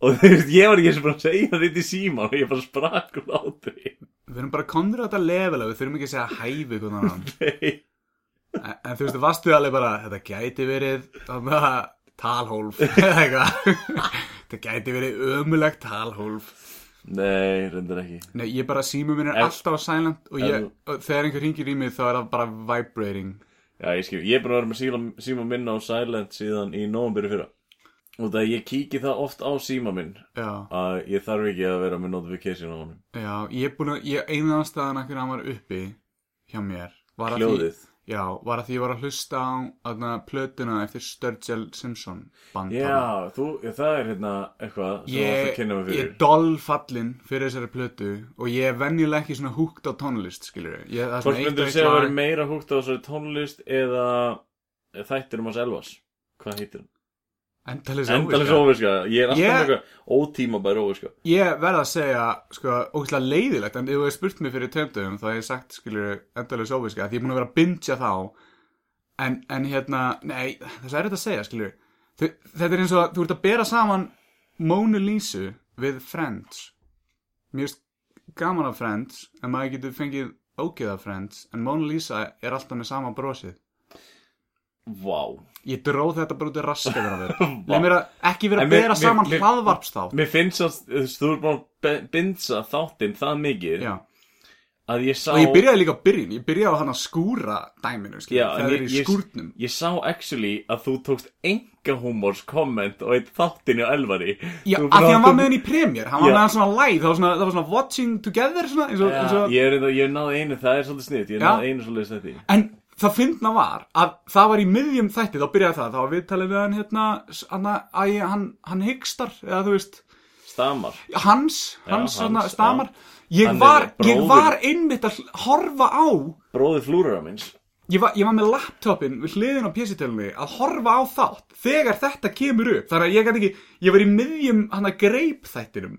[SPEAKER 2] og þú veist, ég var ekki eins og bara að segja þetta í síman og ég bara sprakk úr átri
[SPEAKER 4] við erum bara konður á þetta level Við þurfum ekki að segja hæfi hvernig annan
[SPEAKER 2] nei
[SPEAKER 4] en, en þú veist, varstu alveg bara Þetta gæti verið þarna, talhólf eða eitthvað. Þetta gæti verið ömulegt talhólf
[SPEAKER 2] Nei, reyndar ekki
[SPEAKER 4] Nei, ég bara símu minn er
[SPEAKER 2] Ef-
[SPEAKER 4] alltaf á silent og, ég,
[SPEAKER 2] Ef-
[SPEAKER 4] og þegar einhver ringir í mig þá er það bara vibrating
[SPEAKER 2] Já, ég skil, ég er búin að vera með síla, síma minn á Silent síðan í nóvumbyrju fyrra Og það ég kíki það oft á síma minn
[SPEAKER 4] Já,
[SPEAKER 2] Að ég þarf ekki að vera með notification á honum
[SPEAKER 4] já, ég er búin að, ég, einu aðstæðan að hverju hann var uppi hjá mér var að
[SPEAKER 2] Hljóðið
[SPEAKER 4] Því, já, var að því ég var að hlusta á aðna, plötuna eftir Sturgill Simpson band. þarna.
[SPEAKER 2] Já, þú, já, það er hérna eitthvað sem þú átt að
[SPEAKER 4] Mm, Ég,
[SPEAKER 2] kynna mig
[SPEAKER 4] ég er
[SPEAKER 2] fyrir
[SPEAKER 4] dollfallin fyrir þessari plötu og ég er venjulega ekki svona húkt á tónlist, skilur við. Ég, það er svona
[SPEAKER 2] Hvort
[SPEAKER 4] eitt
[SPEAKER 2] myndur
[SPEAKER 4] og
[SPEAKER 2] þú
[SPEAKER 4] eitt
[SPEAKER 2] segja að
[SPEAKER 4] lag-
[SPEAKER 2] vera meira húgt á þessari tónlist eða þættir um hans Elvas Hvað heitir hann?
[SPEAKER 4] Endalaus
[SPEAKER 2] Endalis
[SPEAKER 4] óviska.
[SPEAKER 2] óviska, ég er alltaf
[SPEAKER 4] Ég-
[SPEAKER 2] með eitthvað ótímabæri óviska
[SPEAKER 4] Ég verð að segja, sko, ógæslega leiðilegt en ef þú hefði spurt mér fyrir tveimdöfum þá hef ég sagt, skilur, endalaus óviska því ég er búin að vera að bingja þá en, en hérna, nei, þess að er þetta að segja, skilur Þe- þetta er eins og að þú ert að bera saman Mona Lisa við Friends Mér finnst gaman af Friends en maður getur fengið ógeð af Friends en Mona Lisa er alltaf með sama brosið
[SPEAKER 2] Vá
[SPEAKER 4] Ég dróð þetta bara út í raskaður af þér
[SPEAKER 2] Vá.
[SPEAKER 4] Leif mér að ekki vera
[SPEAKER 2] En
[SPEAKER 4] að
[SPEAKER 2] mér-
[SPEAKER 4] bera
[SPEAKER 2] mér-
[SPEAKER 4] saman
[SPEAKER 2] mér-
[SPEAKER 4] hlaðvarpstátt
[SPEAKER 2] Mér finnst að þú veist, þú er búin að be- binsa þáttinn það mikið
[SPEAKER 4] Já
[SPEAKER 2] að ég sá
[SPEAKER 4] Og ég byrjaði líka á byrjun, ég byrjaði á hann að skúra dæminu, skilur,
[SPEAKER 2] Já, en
[SPEAKER 4] það er í skúrnum.
[SPEAKER 2] Ég, ég sá actually að þú tókst enga humors komment og eitt þáttinu Elvari
[SPEAKER 4] Já,
[SPEAKER 2] Þú
[SPEAKER 4] af því
[SPEAKER 2] bara-
[SPEAKER 4] hann var með henni í premjör, hann
[SPEAKER 2] Já.
[SPEAKER 4] var með hann svona live, það var svona, það var svona watching together, svona, eins og, eins
[SPEAKER 2] Já,
[SPEAKER 4] og,
[SPEAKER 2] ég, er, reyndar- ég náði einu, það er svolítið sniðt, ég
[SPEAKER 4] Já.
[SPEAKER 2] náði einu svolítið sniðt í
[SPEAKER 4] en það fyndna var að það var í miðjum þætti, þá byrjaði það, þá var viðtalið við hann, hérna, s- hann, að ég- hann, hann hyggstar, eða þú veist,
[SPEAKER 2] Stamar
[SPEAKER 4] hans,
[SPEAKER 2] Já,
[SPEAKER 4] hans, svona,
[SPEAKER 2] Hans, já.
[SPEAKER 4] stamar, ég
[SPEAKER 2] Hann er
[SPEAKER 4] var, ég
[SPEAKER 2] bróðir-
[SPEAKER 4] var einmitt að hl- horfa á,
[SPEAKER 2] Bróði flúrara minns
[SPEAKER 4] ég var, ég var með laptopin við hliðin á pjessitölunni að horfa á þátt þegar þetta kemur upp þannig að ég gæti ekki, ég var í miðjum hann að greip þættinum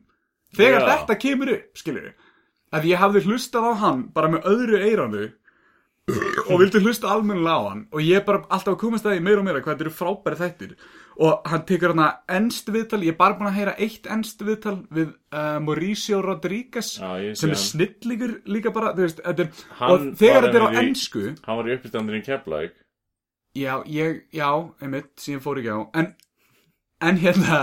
[SPEAKER 4] þegar
[SPEAKER 2] Já.
[SPEAKER 4] þetta kemur upp, skilur að ég hafði hlustað á hann bara með öðru eiranu og vildi hlusta almennilega á hann og ég er bara alltaf að komast að því meira og meira hvað þetta eru frábæri þættir og hann tekur hann að ennst viðtal ég er bara búin að heyra eitt ennst viðtal við uh, Mauricio Rodríguez
[SPEAKER 2] Já, ég sé
[SPEAKER 4] sem
[SPEAKER 2] hann.
[SPEAKER 4] er snillingur líka bara þú veist, þetta er, og
[SPEAKER 2] Hann var
[SPEAKER 4] þegar þetta er á
[SPEAKER 2] einmitt í-
[SPEAKER 4] ennsku
[SPEAKER 2] Hann var í uppistandurinn Keflæk
[SPEAKER 4] Já, ég, já, einmitt, síðan fór ekki á En, en hérna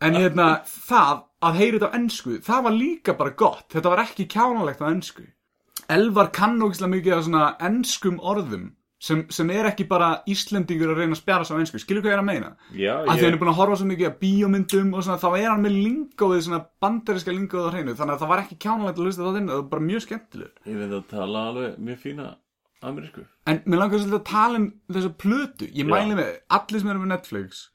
[SPEAKER 4] En hérna, það að heyra þetta á ennsku Það var líka bara gott Þetta var ekki kjánalegt á ennsku Elvar kann ógislega mikið af svona ennskum orðum sem, sem er ekki bara Íslendingur að reyna að spjara svo á ennsku Skilur hvað ég er að meina?
[SPEAKER 2] Já,
[SPEAKER 4] Af því hann er
[SPEAKER 2] ég,
[SPEAKER 4] búin að horfa svo mikið að bíómyndum og svona, þá er hann með lingóið, svona bandariska lingóið á hreinu, þannig að það var ekki kjánalegt að lusta það inn, það var bara mjög skemmtileg.
[SPEAKER 2] ég veit að tala alveg mjög fína amerísku
[SPEAKER 4] En mér langar svolítið að tala um þessa plötu Ég
[SPEAKER 2] Já.
[SPEAKER 4] mæli með, allir sem eru með Netflix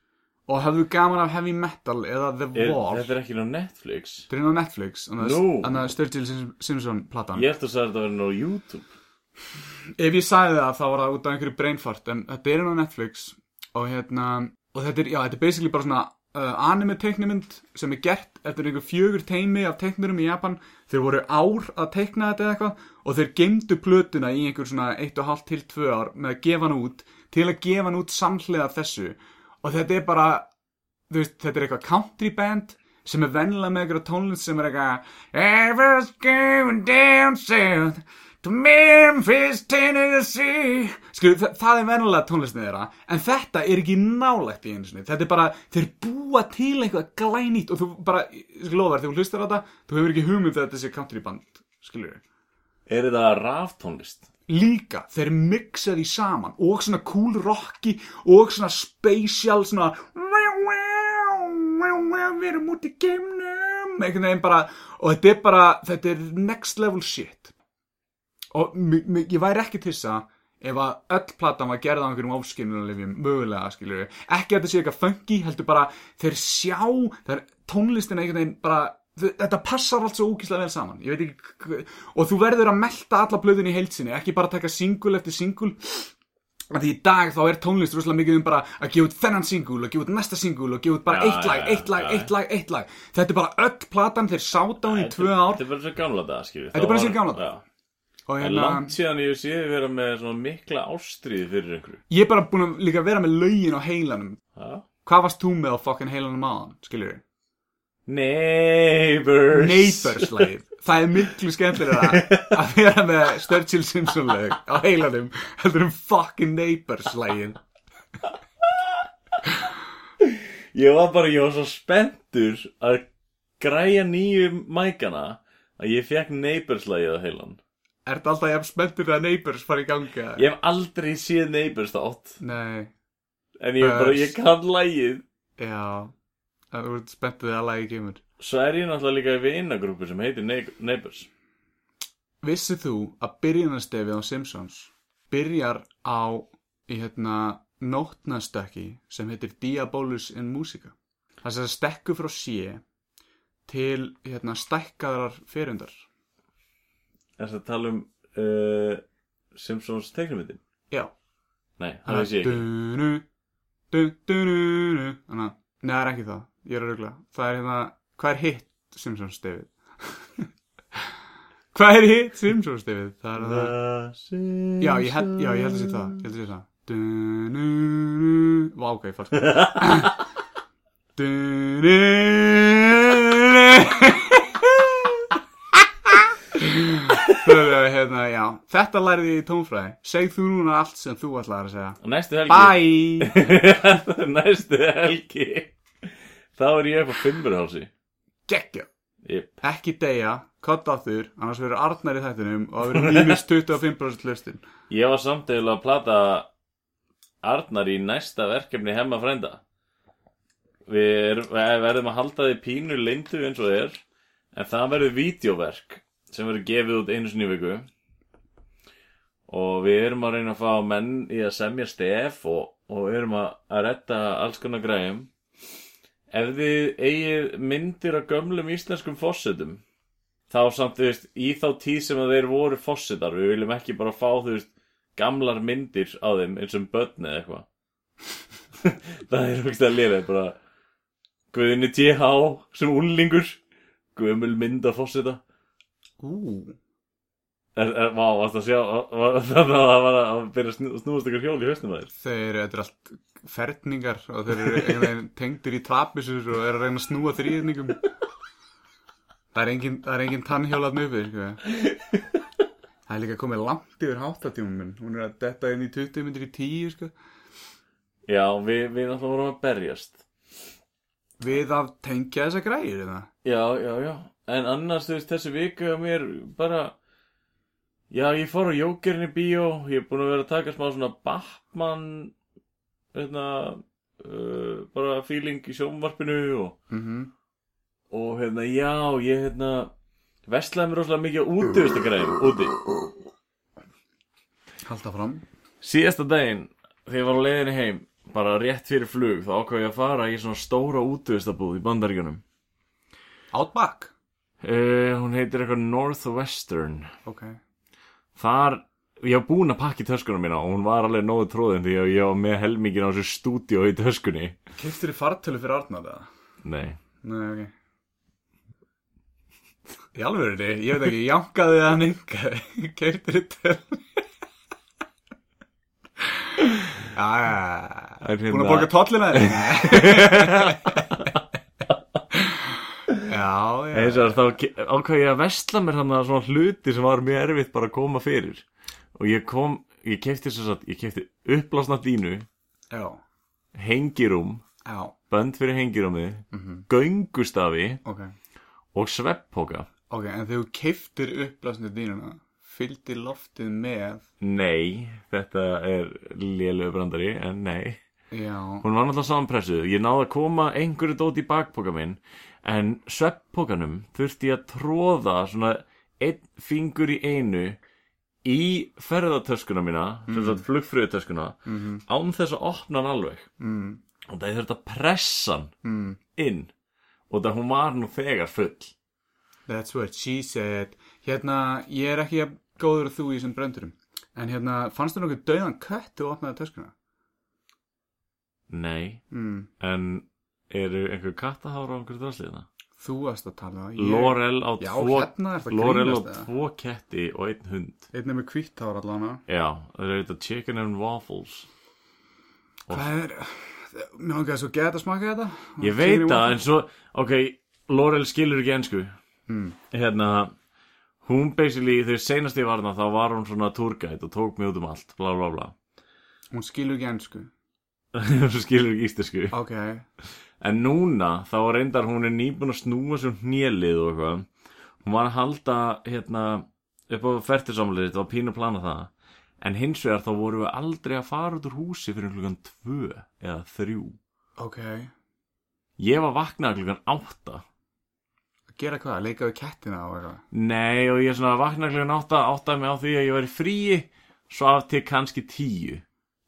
[SPEAKER 4] Og hafðu gaman af heavy metal Eða The
[SPEAKER 2] er,
[SPEAKER 4] Wall
[SPEAKER 2] Þetta er ekki ná Netflix
[SPEAKER 4] Þetta er inn á Netflix Þannig
[SPEAKER 2] Nú.
[SPEAKER 4] að no. Sturgill Sim- Simpson platan
[SPEAKER 2] Ég held að sagði þetta að vera ná YouTube
[SPEAKER 4] Ef ég sagði það þá var það út af einhverju brainfart En þetta er inn á Netflix Og hérna Og þetta er, já, þetta er basically bara svona uh, Anime teiknimynd sem er gert Eftir einhver fjögur teimi af teiknurum í Japan Þeir voru ár að teikna þetta eða eitthvað Og þeir geymdu plötuna í einhver svona 1,5 til 2 ár með að gefa hann út Til að gefa hann út samhlega þessu Og þetta er bara þú veist, þetta er eitthvað country band sem er vennilega með eitthvað tónlist sem er eitthvað Ever's going down south to Memphis, Tennessee Skriðu, þa það er vennilega tónlistin þeirra en þetta er ekki nálægt í einu sinni þetta er bara, þeir búa til eitthvað glænýtt og þú bara, skilóðar, þegar þú hlustar á þetta þú hefur ekki hugmynd þegar þetta sé country band skilur við
[SPEAKER 2] Er þetta raftónlist?
[SPEAKER 4] líka, þeir mixa því saman og svona cool rocki og svona spatial svona við erum út í geimnum einhvern veginn bara og þetta er bara, þetta er next level shit og mi- mi- ég væri ekki til þess að ef að öll platan var gerða á einhverjum ofskilunarlifjum, mögulega skilur við ekki að þetta sé eitthvað funky, heldur bara þeir sjá, þeir tónlistin einhvern veginn bara, þe- þetta passar allt svo úkislega vel saman, ég veit ekki hv- og þú verður að melta alla blöðin í heilsinni ekki bara taka singul eftir singul að því í dag þá er tónlist rosalega mikið um bara að gefa út þennan singul og gefa út næsta singul og gefa út bara
[SPEAKER 2] Já,
[SPEAKER 4] eitt lag,
[SPEAKER 2] já,
[SPEAKER 4] eitt lag,
[SPEAKER 2] já.
[SPEAKER 4] eitt lag, eitt lag þetta er bara öll platan, þeir sáta hún í tvö ár
[SPEAKER 2] Þetta er bara svo gamla dag, skiljið
[SPEAKER 4] Þetta er bara eins og í gamla daga.
[SPEAKER 2] dag
[SPEAKER 4] og hérna-
[SPEAKER 2] En langt síðan ég sé þið vera með svona mikla ástríði fyrir einhverju
[SPEAKER 4] Ég er bara búin að líka vera með lögin á heilanum.
[SPEAKER 2] Ha?
[SPEAKER 4] Hvað varst þú með á fucking heilanum aðan, skiljur við?
[SPEAKER 2] Neighbors
[SPEAKER 4] Neighbors-lægið. Það er miklu skemmtilega að vera með Sturgill Simpson-lög á heilanum heldur um fucking Neighbors-lægið.
[SPEAKER 2] Ég var bara, ég var svo spenntur að græja nýju mækana að ég fekk neighbors-lægið á heilan.
[SPEAKER 4] Er þetta alltaf jafn spenntur að Neighbors fara í gangi? eða?
[SPEAKER 2] Ég hef aldrei séð neighbors þátt,
[SPEAKER 4] Nei,
[SPEAKER 2] en ég var bara, ég kann lægið.
[SPEAKER 4] já. Það voru spenntur að lægi kemur.
[SPEAKER 2] Svo er ég náttúrulega líka í vinagrúpu sem heitir Nei- neighbors.
[SPEAKER 4] Vissið þú að byrjunarstefið á Simpsons byrjar á í hérna nótnastökki sem heitir Diabolus in Musica. Það sem stekku frá sé til hérna stækkaðrar ferundar.
[SPEAKER 2] Er það að tala um uh, Simpsons teiknumyndin?
[SPEAKER 4] Já.
[SPEAKER 2] Nei,
[SPEAKER 4] Ah,
[SPEAKER 2] það veist ég ekki.
[SPEAKER 4] Dunu, dun, dunu, Þannig að, nei það er ekki það. Ég er að rugla. Það er hérna, hvað er hitt Simpsons stefið? hvað er hitt Simpsons stefið? Það er það.
[SPEAKER 2] The Simpsons
[SPEAKER 4] Já, ég held, já, ég held að sé það, ég held að sé það. Du-nu-nu. Vá, ok, fannst það. Du-nu-nu. Hérna, já, þetta lærði ég í tónfræði. Segð þú núna allt sem þú ætlaðir að segja.
[SPEAKER 2] Næstu helgi.
[SPEAKER 4] Bye!
[SPEAKER 2] Bye! Næstu helgi. Þá er ég upp á Fimmurhálsi.
[SPEAKER 4] Gekkja!
[SPEAKER 2] Yep.
[SPEAKER 4] Ekki deyja, kott á þur, annars verður Arnar í þættinum og það verður mínus 25% hlustinn.
[SPEAKER 2] Ég var samt til að plata Arnar í næsta verkefni hemma frænda. Við, er, við verðum að halda því pínu lindu eins og þér, en það verður vídeoverk sem verður gefið út einu sinni í viku. Og við erum að reyna að fá menn í að semja stef og, og erum að, að retta alls konar græjum. Ef þið eigið myndir af gömlum íslenskum fósettum, þá samt, þú veist, í þá tíð sem að þeir voru fósitar, við viljum ekki bara fá, þú veist, gamlar myndir á þeim eins og börn eða eitthvað. það er okkur að lera, bara Guðinni TH sem úlingur, Guðmul mynd af fósita.
[SPEAKER 4] Ú,
[SPEAKER 2] Er, er, vá, varst að sjá, var, það var að byrja að snú- snúast ykkur hjól í hausnum að þér.
[SPEAKER 4] Þeir eru, þetta er allt ferningar og þeir eru einhvern veginn tengdir í trapisur og eru að reyna að snúa þrýðningum. Það er engin, það er engin tannhjólað uppi, sko. Það er líka komið langt yfir háttatímum minn. Hún er að detta inn í 20 myndir í 10, sko.
[SPEAKER 2] Já, við, við náttúrulega vorum að berjast.
[SPEAKER 4] Við að tengja þessa græðir, eða?
[SPEAKER 2] Já, já, já. En annars, þú veist, þessi vika hjá mér bara... Já, ég fór á Jókerinn í bíó, ég er búin að vera að taka smá svona Batman, hérna, uh, bara feeling í sjónvarpinu og,
[SPEAKER 4] Mhm.
[SPEAKER 2] og hérna, já, ég, hérna, veslaði mér rosalega mikið á útivistakræðum, úti.
[SPEAKER 4] Halda fram
[SPEAKER 2] Síðasta daginn, þegar ég var á leiðinni heim Bara rétt fyrir flug, þá ákvað ég að fara í svona stóra útvistabúð í bandaríkjunum
[SPEAKER 4] Outback
[SPEAKER 2] uh, Hún heitir eitthvað Northwestern
[SPEAKER 4] Ok
[SPEAKER 2] Þar, ég var búinn að pakka í töskuna mína Og hún var alveg nógu tróðin Því að ég var með helmingin á þessu stúdíó í töskunni
[SPEAKER 4] Kiftir þið fartölu fyrir Arnar það?
[SPEAKER 2] Nei
[SPEAKER 4] Nei, ok Í alvörunni, ég veit ekki, jánkaði það nyngaði Kiftir þið tölu Já, já, já
[SPEAKER 2] Það er
[SPEAKER 4] Búin
[SPEAKER 2] hérna-
[SPEAKER 4] að borga tollina þér? Já, já
[SPEAKER 2] eins og þá ke- ákvað ég að vestla mér þannig að svona hluti sem var mjög erfitt bara að koma fyrir og ég kom, ég kefti sem sagt ég kefti uppblásna dínu,
[SPEAKER 4] Já,
[SPEAKER 2] hengirúm
[SPEAKER 4] já,
[SPEAKER 2] bönd fyrir hengirúmið,
[SPEAKER 4] Mhm.
[SPEAKER 2] göngustafi
[SPEAKER 4] ok
[SPEAKER 2] og sveppoka
[SPEAKER 4] Ok, en þegar þú kiftir uppblásnir dýnuna Fylgdi loftið með
[SPEAKER 2] nei, þetta er lélögu brandari, en nei
[SPEAKER 4] Já,
[SPEAKER 2] hún var náttúrulega samanpressuð, ég náði að koma einhverju dót í bakpoka minn en sveppokanum þurfti ég að tróða svona einn fingur í einu í ferðartöskuna mína sem
[SPEAKER 4] Mhm.
[SPEAKER 2] sagt flugfröðutöskuna án þess að opna hann alveg
[SPEAKER 4] mm,
[SPEAKER 2] og það ég þurfti að pressa hann
[SPEAKER 4] mm
[SPEAKER 2] inn og það hún var nú þegar full
[SPEAKER 4] That's what she said. Hérna, ég er ekki jafn góður að þú í þessum bröndurum. En hérna, fannst þú nokkuð dauðan kött þegar þú opnaði töskuna?
[SPEAKER 2] nei,
[SPEAKER 4] Mm.
[SPEAKER 2] en eru einhver kattahára á einhverju drasliðna
[SPEAKER 4] Þú varst að tala. Ég...
[SPEAKER 2] Lorel á
[SPEAKER 4] Já,
[SPEAKER 2] tvo
[SPEAKER 4] hérna er það
[SPEAKER 2] Lorel á
[SPEAKER 4] grínast eða?
[SPEAKER 2] tvo ketti og einn hund
[SPEAKER 4] Einn er með hvítt hár allan að.
[SPEAKER 2] já, það eru þetta chicken and waffles
[SPEAKER 4] Hvað er... Mér ángæði svo gett að smaka þetta.
[SPEAKER 2] Ég veit það, en svo, ok, Laurel skilur ekki ensku. Hérna, hún basically, þegar senast ég var hana, þá var hún svona túrgæt og tók mig út um allt, bla bla bla.
[SPEAKER 4] Hún skilur ekki ennsku.
[SPEAKER 2] Svo skilur ekki íslensku.
[SPEAKER 4] Ok.
[SPEAKER 2] En núna, þá reyndar hún er nýbúin að snúa sem hnélið og eitthvað. Hún var að halda, hérna, upp á fertilsamlega þetta var pínu að plana það. En hins vegar þá vorum við aldrei að fara út úr húsi fyrir klukkan tvö eða þrjú.
[SPEAKER 4] Ok.
[SPEAKER 2] Ég var vaknað klukkan átta.
[SPEAKER 4] Að gera hvað? Að Leika við kettina og eitthvað.
[SPEAKER 2] Nei og ég svona vakna klukkan átta áttaði mig á því að ég væri fríi svaf til kannski tíu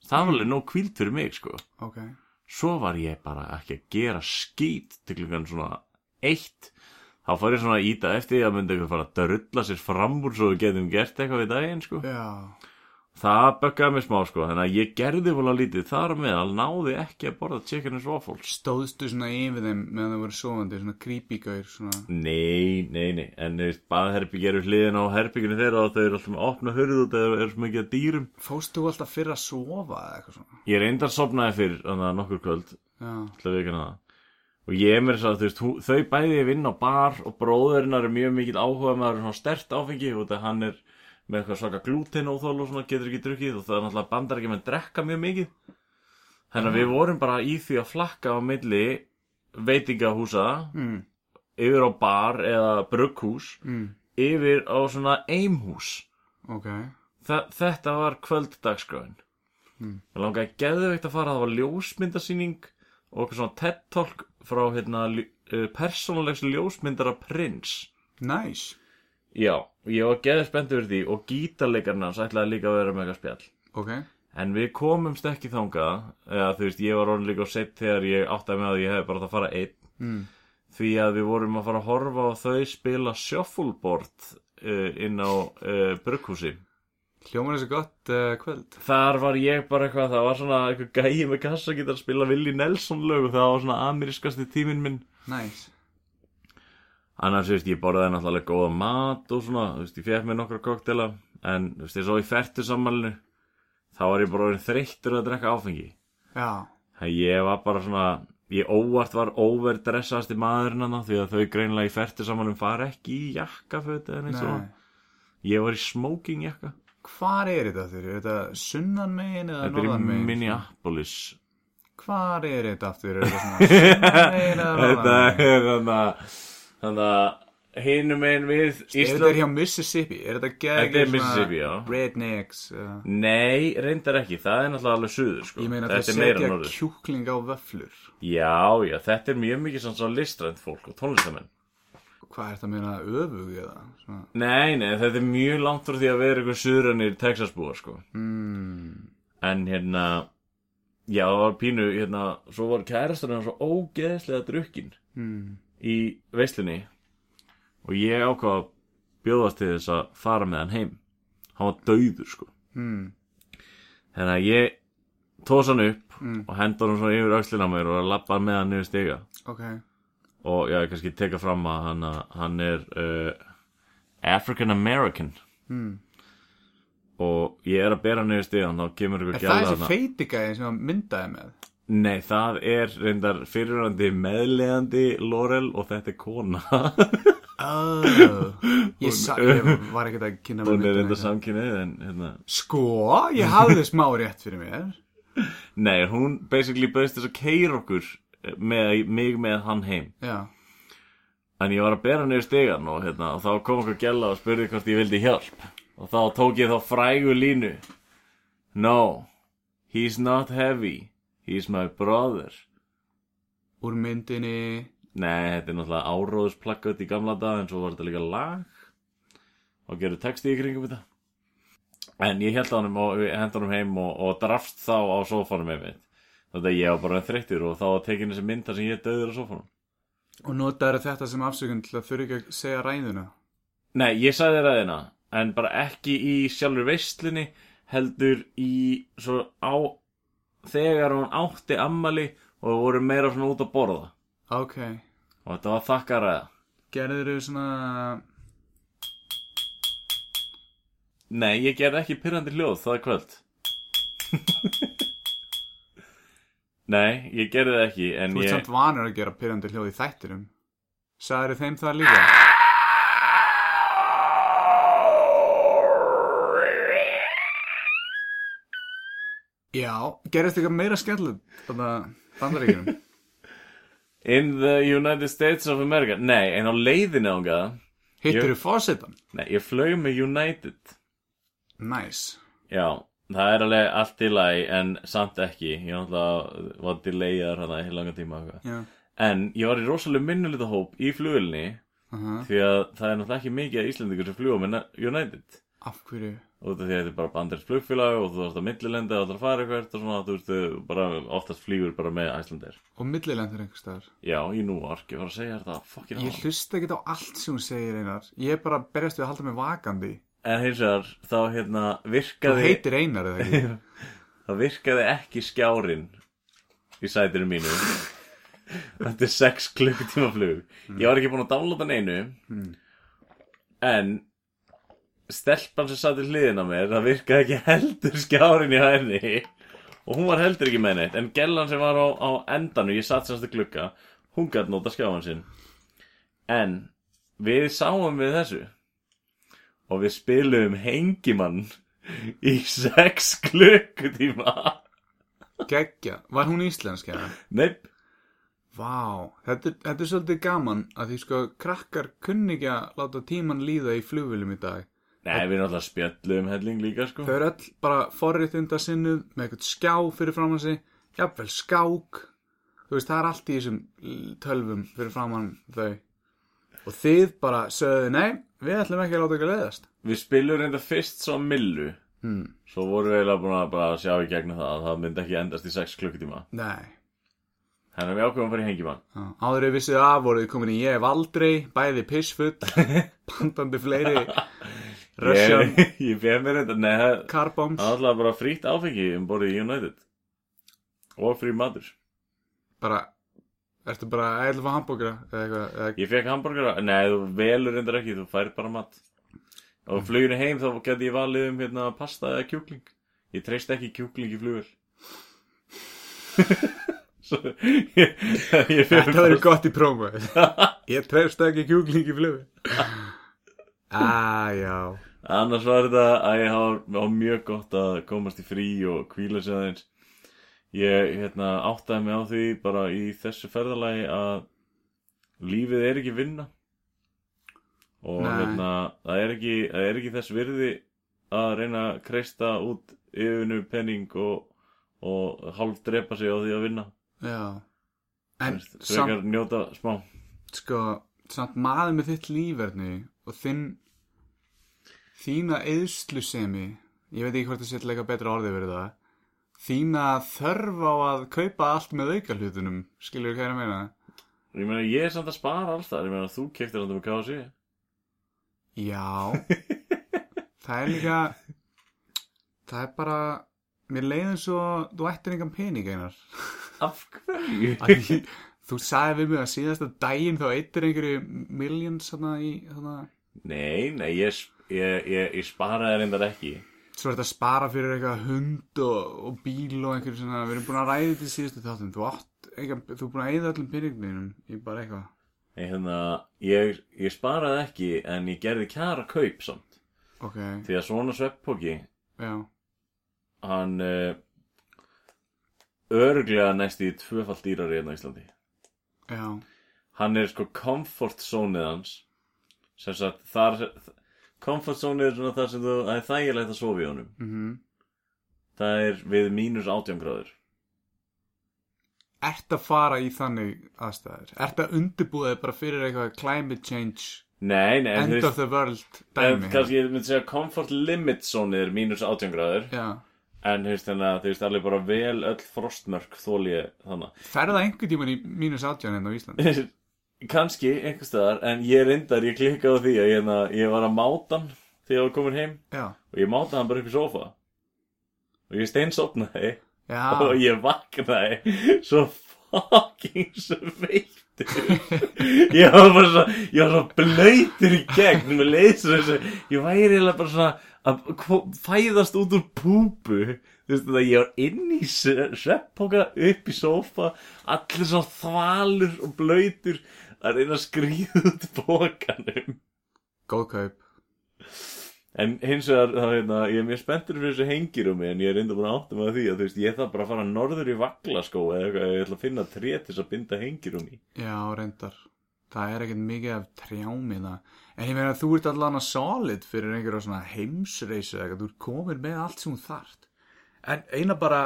[SPEAKER 2] það var alveg nóg kvíld fyrir mig sko
[SPEAKER 4] Ok.
[SPEAKER 2] svo var ég bara ekki að gera skýt til klukkan svona eitt þá fór ég svona að íta eftir því að myndi eitthvað fara að drulla sér fram úr svo við getum gert eitthvað við daginn sko
[SPEAKER 4] Já.
[SPEAKER 2] það böggaði mig smá sko þannig að ég gerði vola lítið þar á meðal náði ekki að borða chicken and waffles
[SPEAKER 4] Stóðstu svona yfir þeim meðan þau voru sofandi, svona creepy gaur, svona...
[SPEAKER 2] Nei, nei, nei, en baðherbyggi eru hliðin á herbygginu þeirra og þau eru alltaf með opna hurð og þau eru svo mikið að dýrum
[SPEAKER 4] Fóstu þú alltaf fyrir að sofa eða eitthvað svona?
[SPEAKER 2] Ég reyndar sopnaði fyrir þannig nokkur kvöld
[SPEAKER 4] Já.
[SPEAKER 2] ætla við ekki hana og ég er mér svo að þú veist, hú- þau bæði vinna á bar og bróðurinnar er mjög mikill áhuga maður svona stert áfengi og það hann er með eitthvað svaka glúten og og svona getur ekki drukkið og það er náttúrulega bandar ekki með að drekka mjög mikið þannig að við vorum bara í því að flakka á milli veitingahúsa
[SPEAKER 4] Mm.
[SPEAKER 2] yfir á bar eða brugghús
[SPEAKER 4] Mm.
[SPEAKER 2] yfir á svona eimhús
[SPEAKER 4] Ok,
[SPEAKER 2] Þa, þetta var kvölddagsgráin mm. Mér langaði geðveikt að fara það var ljósmyndasýning og eitthvað svona TED-talk frá hérna, lj- eh, persónulegs ljósmyndara prins
[SPEAKER 4] nice
[SPEAKER 2] Já, og ég var geðið spenntið fyrir því og gítarleikarna hans ætlaði líka að vera með eitthvað spjall
[SPEAKER 4] Ok,
[SPEAKER 2] En við komumst ekki þangað eða þú veist, ég var orðin líka og seitt þegar ég áttaði með að ég hefði bara átt að fara einn
[SPEAKER 4] mm.
[SPEAKER 2] því að við vorum að fara að horfa á þau spila shuffleboard uh, inn á uh, brugghúsi
[SPEAKER 4] hljómar þessi gott uh, kvöld
[SPEAKER 2] Þar var ég bara eitthvað, það var svona eitthvað gæi með kassa að spila Willi Nelson lög og það var svona amerískasti tíminn minn.
[SPEAKER 4] Nice
[SPEAKER 2] Annars, þú veist, ég borðaði náttúrulega góða mat og svona, þú veist, ég fekk mér nokkra koktela en, þú veist, ég svo í færtu sammalinu, þá var ég bara orðin þreyttur að drekka áfengi.
[SPEAKER 4] Já,
[SPEAKER 2] Það ég var bara svona, ég óvart var overdressaðasti maðurinn hann því að þau greinlega í færtu sammalinu fara ekki í jakkaföt eða neitt
[SPEAKER 4] nei
[SPEAKER 2] svona. Ég var í smoking jakka.
[SPEAKER 4] Hvar er þetta aftur? Er þetta sunnan megin eða
[SPEAKER 2] Þetta er
[SPEAKER 4] norðan
[SPEAKER 2] í
[SPEAKER 4] megin? sko.
[SPEAKER 2] Minneapolis.
[SPEAKER 4] Hvar er þetta aftur? Er þetta svona sunnan megin eða norðan
[SPEAKER 2] Þetta
[SPEAKER 4] megin?
[SPEAKER 2] er þannig að Þannig að hinum einn við
[SPEAKER 4] Ef Þetta er
[SPEAKER 2] Ísland
[SPEAKER 4] hjá Mississippi, er þetta gegn
[SPEAKER 2] Þetta er Mississippi, já
[SPEAKER 4] Rednecks uh,
[SPEAKER 2] Nei, reyndar ekki, það er náttúrulega alveg suður sko.
[SPEAKER 4] Ég meina
[SPEAKER 2] Þetta
[SPEAKER 4] þetta
[SPEAKER 2] er meira
[SPEAKER 4] setja
[SPEAKER 2] norður
[SPEAKER 4] kjúkling á vöflur
[SPEAKER 2] Já, já, þetta er mjög mikið sanns á listrænt fólk og tónlistamenn
[SPEAKER 4] hvað er þetta að meina öfug eða? Svona,
[SPEAKER 2] Nei, nei, þetta er mjög langt úr því að vera eitthvað suðrannir Texasbúar, sko.
[SPEAKER 4] mm,
[SPEAKER 2] En hérna, já, það var pínu, hérna, svo var kærastan hann svo ógeðslega drukkin
[SPEAKER 4] mm,
[SPEAKER 2] í veislinni og ég ákvað að bjóðast til þess að fara með hann heim. Hann var dauður, sko.
[SPEAKER 4] mm,
[SPEAKER 2] Þannig að ég tósa hann upp
[SPEAKER 4] Hmm.
[SPEAKER 2] og henda hann svona yfir öxlina á mér og lappa með hann yfir stiga.
[SPEAKER 4] ok,
[SPEAKER 2] Og já, ég kannski teka fram að hann, hann er uh, African American.
[SPEAKER 4] mm.
[SPEAKER 2] og ég er að bera hann yfir stíðan þá kemur
[SPEAKER 4] Er
[SPEAKER 2] ykkur
[SPEAKER 4] það
[SPEAKER 2] gæla
[SPEAKER 4] þessi
[SPEAKER 2] hana
[SPEAKER 4] feitigæði sem hann myndaði með?
[SPEAKER 2] Nei, það er reyndar fyrirrandi meðlegandi Laurel og þetta er kona hún
[SPEAKER 4] Oh, ég, sa, ég var ekkert að kynna mér
[SPEAKER 2] er
[SPEAKER 4] myndina
[SPEAKER 2] reyndar
[SPEAKER 4] eitthvað.
[SPEAKER 2] samkynnið en hérna
[SPEAKER 4] Sko, ég hafði smá rétt fyrir mér
[SPEAKER 2] Nei, hún basically bauðist þess að keira okkur með, mig með hann heim
[SPEAKER 4] Já,
[SPEAKER 2] en ég var að bera hann yfir stígan og, hérna, og þá kom ykkur gæla og spurði hvort ég vildi hjálp og þá tók ég þá frægu línu No, he's not heavy he's my brother
[SPEAKER 4] úr myndinni
[SPEAKER 2] Nei, þetta er náttúrulega áróðusplakkað í gamla dag en svo var þetta líka lag og gerðu texti í kringum þetta en ég held honum og hend honum heim og, og drafst þá á sofanum einmitt þannig að ég var bara þreyttur og þá var tekin þessi mynda sem ég er döður á sofanum
[SPEAKER 4] og notaður þetta sem afsökun til að þurfi ekki að segja ræðuna
[SPEAKER 2] Nei, ég sagði þér aðeina en bara ekki í sjálfur veistlunni heldur í svo á þegar hún átti ammali og voru meira svona út að borða
[SPEAKER 4] Ok,
[SPEAKER 2] og þetta var þakkaræða
[SPEAKER 4] gerður þau svona
[SPEAKER 2] Nei, ég gerði ekki pyrrandi hljóð, það er kvöld Nei, ég gerði það ekki En
[SPEAKER 4] Þú ert
[SPEAKER 2] ég,
[SPEAKER 4] samt vanur að gera pyrrandi hljóð í þættinum Sæður þeim það líka? Já, gerist eitthvað meira skellum Þannig að bandaríkjum
[SPEAKER 2] in the United States of America Nei, en á leiðinu ánga
[SPEAKER 4] Hittir þú fósitan?
[SPEAKER 2] Nei, ég flög með United
[SPEAKER 4] Næs
[SPEAKER 2] Já, það er alveg allt í lagi En samt ekki Ég náttúrulega var delayar hana í langan tíma og eitthvað.
[SPEAKER 4] Já,
[SPEAKER 2] En ég var í rosalega minnulita hóp í flugilni
[SPEAKER 4] aha,
[SPEAKER 2] Því að það er náttúrulega ekki mikið af Íslendingur sem fluga með United
[SPEAKER 4] af hverju?
[SPEAKER 2] út af því að þetta er bara bandirins flugfélag og þú þarfst að millilenda og þú þarfst að fara eitthvað og svona, þú veist, þú bara oftast flýgur bara með Æslandir.
[SPEAKER 4] Og millilendur einhvers staðar
[SPEAKER 2] Já, í Núark, ég var að segja þér það, fucking
[SPEAKER 4] Ég
[SPEAKER 2] hálf.
[SPEAKER 4] hlusta ekkert á allt sem hún segir einar Ég er bara að berjast við að halda mig vakandi
[SPEAKER 2] En hins vegar, þá hérna
[SPEAKER 4] Þú
[SPEAKER 2] virkaði,
[SPEAKER 4] heitir einar eða ekki
[SPEAKER 2] það virkaði ekki skjárin í sætinu mínu. þetta er 6 klukkutíma flug. Ég var ekki búin að downloada neinu, en stelpan sem satt í hliðina á mér, það virkaði ekki heldur skjárin í henni. og hún var heldur ekki með neitt en gellan sem var á, á endanu ég satt semst að glugga hún gætt nota skjáðan sinn en við sáum við þessu og við spilum hengimann í sex klukkutíma
[SPEAKER 4] Gekkja, var hún íslensk eða?
[SPEAKER 2] neip
[SPEAKER 4] Vá, þetta, er- þetta er svolítið gaman að því sko krakkar kunni ekki að láta tíman líða í flugvillum í dag.
[SPEAKER 2] Nei, við náttúrulega spjöllum helling líka, sko.
[SPEAKER 4] Þau eru öll bara forréttinda sinnuð með eitthvað skjá fyrir framann sig, jafnvel skák. Þú veist, það er allt í þessum l- tölvum fyrir framann þau. Og þið bara sögðu, nei, við ætlum ekki að láta ykkur leiðast.
[SPEAKER 2] Við spilum reynda fyrst svo millu.
[SPEAKER 4] Hmm.
[SPEAKER 2] Svo vorum við eiginlega búin að bara sjá í gegnum það að það myndi ekki endast í sex klukkutíma.
[SPEAKER 4] Nei.
[SPEAKER 2] Þannig að við ákveðum að fara í hengimann.
[SPEAKER 4] Já, Áður ég vissið af voruð þið komin í ég hef aldrei, bæði pissfull, bandandi fleiri, Russian
[SPEAKER 2] Ég, ég beð mér reynda, nei, það-
[SPEAKER 4] car bombs.
[SPEAKER 2] Það er alltaf bara frítt áfengi um borðið í United og frí matur
[SPEAKER 4] bara ertu bara að ætla að fá hambúkra eða eitthvað eða...
[SPEAKER 2] Ég fekk hambúrgara, nei þú velur reyndar ekki, þú fær bara mat
[SPEAKER 4] Mm.
[SPEAKER 2] og fluginu heim þá geti ég valið um hérna pasta eða kjúkling Ég treyst ekki kjúkling í flugur Svo ég, ég fer
[SPEAKER 4] þetta
[SPEAKER 2] bara-
[SPEAKER 4] verður gott í prófa ég trefst ekki kjúkling í flöfi aaa já
[SPEAKER 2] Annars var þetta að ég hafa var mjög gott að komast í frí og kvíla sig aðeins. Ég hérna, áttaði mig á því bara í þessu ferðalagi að lífið er ekki vinna. Og
[SPEAKER 4] Nei.
[SPEAKER 2] hérna, það er ekki, það er ekki þess virði að reyna að kreista út yfirnu penning og, og hálf drepa sig á því að vinna.
[SPEAKER 4] já
[SPEAKER 2] Þú
[SPEAKER 4] en
[SPEAKER 2] veist,
[SPEAKER 4] samt
[SPEAKER 2] Frekar njóta smá.
[SPEAKER 4] sko samt maður með þitt líferni og þinn þína eðslusemi ég veit ekki hvort það setja leika betra orðið verið það þína þörf á að kaupa allt með auka hlutunum skilur hvað ég er að meina
[SPEAKER 2] Ég meina, ég er samt að spara alls það Ég meina, þú keftir hann um KFC
[SPEAKER 4] já það er líka það er bara mér leið eins og þú ættir engan pening einar
[SPEAKER 2] Af hverju?
[SPEAKER 4] Æ, þú sagði við mig að síðasta daginn þá eittir einhverju millions þarna í þarna
[SPEAKER 2] Nei, nei, ég, s- ég, ég, ég sparaði reyndar ekki
[SPEAKER 4] Svo er þetta að spara fyrir eitthvað hund og, og bíl og einhverju svona, við erum búin að ræði til síðustu þáttum, þú átt, eitthvað, þú er búin að eyða öllum peningnum í bara eitthvað.
[SPEAKER 2] Ég, hérna, ég, ég sparaði ekki en ég gerði kjara kaup samt
[SPEAKER 4] Ok,
[SPEAKER 2] því að svona svepppóki
[SPEAKER 4] já,
[SPEAKER 2] hann uh, örglega næst í tvöfalt dýrari hérna á Íslandi
[SPEAKER 4] já,
[SPEAKER 2] hann er sko comfort zone-ið hans sem sagt þar comfort zone-ið er svona þar sem þú það er þægilegt að sofa í honum
[SPEAKER 4] mhm.
[SPEAKER 2] það er við mínus 18 gráður
[SPEAKER 4] Ert að fara í þannig aðstæður? Ert að undirbúa þig bara fyrir eitthvað climate change,
[SPEAKER 2] Nei, nei,
[SPEAKER 4] end
[SPEAKER 2] þú
[SPEAKER 4] of the world
[SPEAKER 2] en,
[SPEAKER 4] dæmi?
[SPEAKER 2] kannski ég myndi segja comfort limit zone-ið er mínus 18 gráður
[SPEAKER 4] Já,
[SPEAKER 2] en þú veist þannig að þú veist alveg bara vel öll frostmörk þóli ég þannig
[SPEAKER 4] ferða einhvern tíman í mínus átján hérna á Íslandi?
[SPEAKER 2] kannski einhvers staðar en ég reyndar, ég klikkaði á því að ég, hérna, ég var að máta hann þegar ég var komin heim
[SPEAKER 4] Já,
[SPEAKER 2] og ég máta hann bara upp í sofa og ég steinsopnaði og
[SPEAKER 4] já,
[SPEAKER 2] ég vaknaði svo fucking sveittur ég var bara svo ég var svo blöytur í gegn með leysur þessu ég væri eiginlega bara svona að ko- fæðast út úr púpu þú veist það ég var inn í sveppóka upp í sófa allir svo þvalur og blöytur að reyna að skrýða út bókanum
[SPEAKER 4] góð kaup.
[SPEAKER 2] En hins vegar, þá, hérna, ég er mjög spenntur fyrir þessu hengir um mig en ég er enda búin að átta mig að því að þú veist, ég þarf bara að fara norður í vaglaskó eða eitthvað, ég ætla að finna tré til þess að binda hengir um mig.
[SPEAKER 4] Já, reyndar. Það er ekkert mikið af trjámi það. En ég meina þú ert allan að solid fyrir einhverja svona heimsreisu eða eitthvað. Þú ert komin með allt sem þú þart. En eina bara,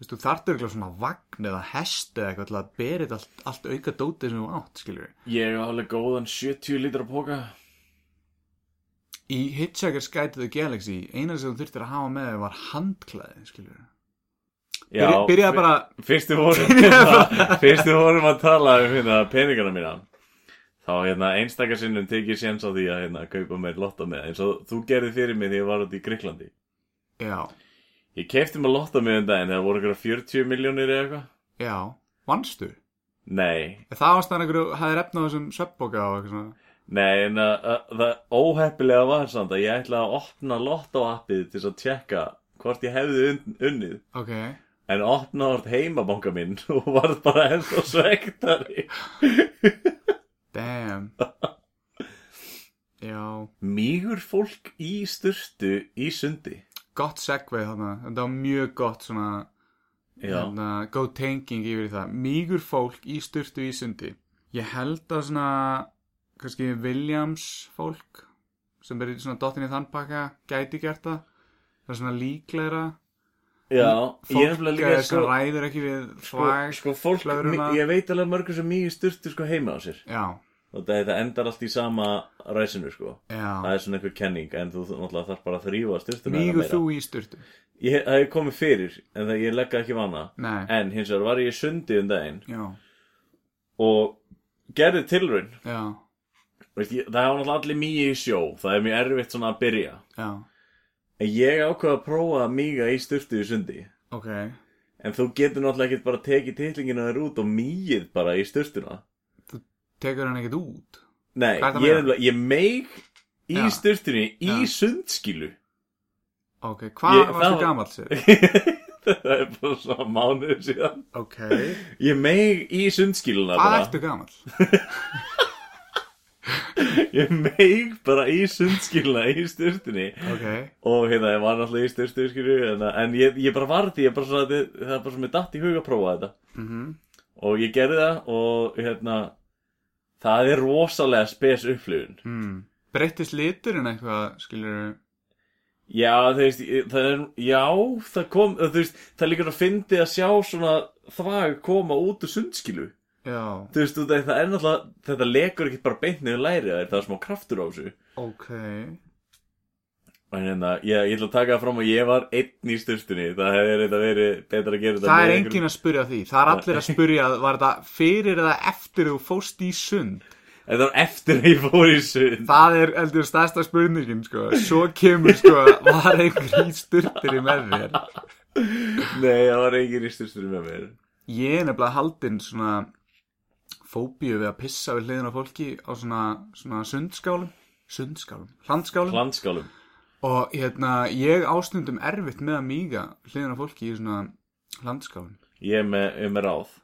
[SPEAKER 4] veistu, þú þart eitthvað svona vagn eða hest eða eitthvað til að berið allt, allt auka dótið sem þú átt, skiljur við.
[SPEAKER 2] Ég á alveg góðan 70 lítra póka.
[SPEAKER 4] Í Hitchhiker's Guide to the Galaxy, eina sem þú þurftir að hafa með þér var handklæði, skiljur við.
[SPEAKER 2] Já,
[SPEAKER 4] Byrjaði bara,
[SPEAKER 2] Fyrst við vorum, fyrst við vorum að tala um hérna, peningana mína, þá hérna einstakar sinnum tek ég séns á því að hérna, kaupa mér lotta með eins og þú gerði fyrir mig þegar ég var út í Greiklandi.
[SPEAKER 4] já,
[SPEAKER 2] Ég kefti mér lotta með um daginn þegar voru ykkur 40 miljónir eða eitthvað.
[SPEAKER 4] já, vannstu.
[SPEAKER 2] Nei,
[SPEAKER 4] En Það ástæðan einhverju, hafði repnað þessum sveppboka og eitthvað svona.
[SPEAKER 2] Nei, en að, að, það óheppilega var samt að ég ætlaði að opna lottoappið til þess að tjekka hvort ég hefði un, unnið
[SPEAKER 4] Ok,
[SPEAKER 2] en opnaði hvort heimabanka minn og varð bara ennþá svektari
[SPEAKER 4] damn. já.
[SPEAKER 2] Mýgur fólk í sturtu í sundi
[SPEAKER 4] gott segvei þarna, þetta var mjög gott svona,
[SPEAKER 2] Já,
[SPEAKER 4] hérna, góð tenging yfir í það, mýgur fólk í styrtu í sundi, ég held að svona, kannski Williams fólk, sem er í svona dottin í þann pakka, gæti gert það það er svona líklegra
[SPEAKER 2] já
[SPEAKER 4] fólk
[SPEAKER 2] ég er nefnilega líka
[SPEAKER 4] eh, sem
[SPEAKER 2] sko,
[SPEAKER 4] ræður ekki við
[SPEAKER 2] sko,
[SPEAKER 4] þvæg,
[SPEAKER 2] sko fólk,
[SPEAKER 4] flöðruna.
[SPEAKER 2] ég veit alveg mörgur sem mýgur sturtu sko heima á sér
[SPEAKER 4] já,
[SPEAKER 2] og það, það endar allt í sama ræsinu sko Það
[SPEAKER 4] já
[SPEAKER 2] er svona einhver kenning, en þú þú náttúrulega þarf bara að þrýfa styrtuna
[SPEAKER 4] mýgur þú í styrtu
[SPEAKER 2] Ég, það hefur komið fyrir, en það, ég legg ekki vana
[SPEAKER 4] nei,
[SPEAKER 2] En hins vegar var ég í sundi um daginn
[SPEAKER 4] já,
[SPEAKER 2] og gerði tilraun.
[SPEAKER 4] já,
[SPEAKER 2] Veist, ég, það hafa náttúrulega allir mýja í sjó, það er mjög erfitt svona að byrja.
[SPEAKER 4] já
[SPEAKER 2] En ég ákvaði að prófa að mýga í sturtu í sundi.
[SPEAKER 4] ok,
[SPEAKER 2] En þú getur náttúrulega ekkert bara tekið titlingina þér út og mýið bara í sturtuna.
[SPEAKER 4] tekur hann ekkert út
[SPEAKER 2] Nei,
[SPEAKER 4] Hvað ertu að
[SPEAKER 2] ég,
[SPEAKER 4] meina?
[SPEAKER 2] nefnilega- ég meig í
[SPEAKER 4] Já.
[SPEAKER 2] sturtunni í
[SPEAKER 4] Já.
[SPEAKER 2] sundskilu.
[SPEAKER 4] ok, hvað
[SPEAKER 2] Ég- það
[SPEAKER 4] varstu
[SPEAKER 2] var-
[SPEAKER 4] gamall sér?
[SPEAKER 2] það er bara svona mánuðu síðan.
[SPEAKER 4] ok,
[SPEAKER 2] Ég meig í sundskiluna
[SPEAKER 4] hvað
[SPEAKER 2] bara.
[SPEAKER 4] ertu gamall?
[SPEAKER 2] Ég meig bara í sundskiluna í sturtunni.
[SPEAKER 4] ok
[SPEAKER 2] og hérna, ég var náttúrulega í styrstu skilju, en, en ég, ég bara varði ég bara svona, það, það er bara svona datt í hug að prófa þetta
[SPEAKER 4] Mhm.
[SPEAKER 2] og ég gerði það og hérna það er rosalega spes upplifun
[SPEAKER 4] Mm. Breyttist liturinn eitthvað, skilur
[SPEAKER 2] já, þú veist, ég- það er já, það kom, þú veist, það er líka að fyndi að sjá svona þvag koma út úr sundskilu
[SPEAKER 4] Já,
[SPEAKER 2] Þú veist, út af því það er náttúrulega Þetta lekur ekki bara beint niður lærið Það er það er smá kraftur á þessu
[SPEAKER 4] ok
[SPEAKER 2] En hérna, ég, ég ætla að taka það fram að ég var einn í styrstunni Það hefði reynda verið betra að gera þetta
[SPEAKER 4] Það
[SPEAKER 2] með
[SPEAKER 4] er
[SPEAKER 2] einhverjum-
[SPEAKER 4] enginn að spyrja því Það er allir að spyrja, var þetta fyrir eða eftir þú fóst í sund?
[SPEAKER 2] Þetta var eftir að ég fór í sund
[SPEAKER 4] Það er eldur stærsta spurningin sko. Svo kemur sko Var einhver í sturtinni með þér
[SPEAKER 2] Nei, það var enginn í styrstunni með mér
[SPEAKER 4] Ég er nefnilega haldinn svona Fóbíu við að pissa við hliðin á fólki Á svona, svona sundskálum Sundskálum, landskálum
[SPEAKER 2] Landskálum
[SPEAKER 4] Og hérna, ég ástundum erfitt með að míga Hliðin á fólki í svona landskálum
[SPEAKER 2] Ég er með, ég er með ráð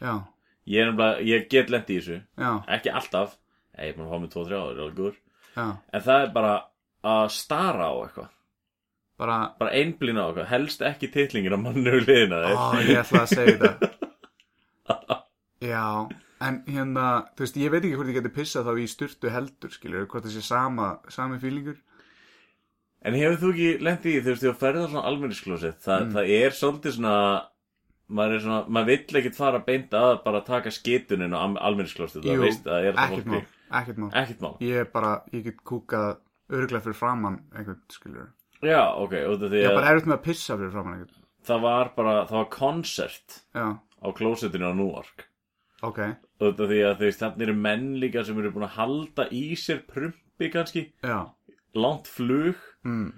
[SPEAKER 4] Já,
[SPEAKER 2] Ég er nefnilega, ég get lent í þessu
[SPEAKER 4] já,
[SPEAKER 2] Ekki alltaf Nei, Ég er búin að fá mig 2-3 áður, alveg góður
[SPEAKER 4] já
[SPEAKER 2] En það er bara að stara á eitthvað
[SPEAKER 4] Bara,
[SPEAKER 2] Bara einblýna á eitthvað Helst ekki titlingin að mannu liðina
[SPEAKER 4] ó, ég ætla að segja þetta Já, en hérna, þú veist, ég veit ekki hvort ég geti pissað þá í sturtu heldur, skilur, hvort það sé sama, sami fílingur.
[SPEAKER 2] En hefur þú ekki lent í því, þú veist, þegar þú ferð á svona almennisklósett það,
[SPEAKER 4] Mm.
[SPEAKER 2] það er svolítið svona maður er svona, maður vill ekkert fara beint að bara taka skitunin á almennisklósett
[SPEAKER 4] Jú,
[SPEAKER 2] það veist, það er það
[SPEAKER 4] ekkert mál, ekkert mál
[SPEAKER 2] Ekkert mál
[SPEAKER 4] ég er bara, ég get kúkað örglega fyrir framann einhvern, skilur
[SPEAKER 2] Já, ok, út af því
[SPEAKER 4] ég er
[SPEAKER 2] að
[SPEAKER 4] bara erfitt með að pissa fyrir framann einhvern
[SPEAKER 2] það var bara, það var konsert
[SPEAKER 4] já,
[SPEAKER 2] á klósettinu á Núark
[SPEAKER 4] ok,
[SPEAKER 2] út af því að þú veist, þannig eru menn líka sem eru búin að halda í sér prumpi kannski,
[SPEAKER 4] já
[SPEAKER 2] langt flug
[SPEAKER 4] mm.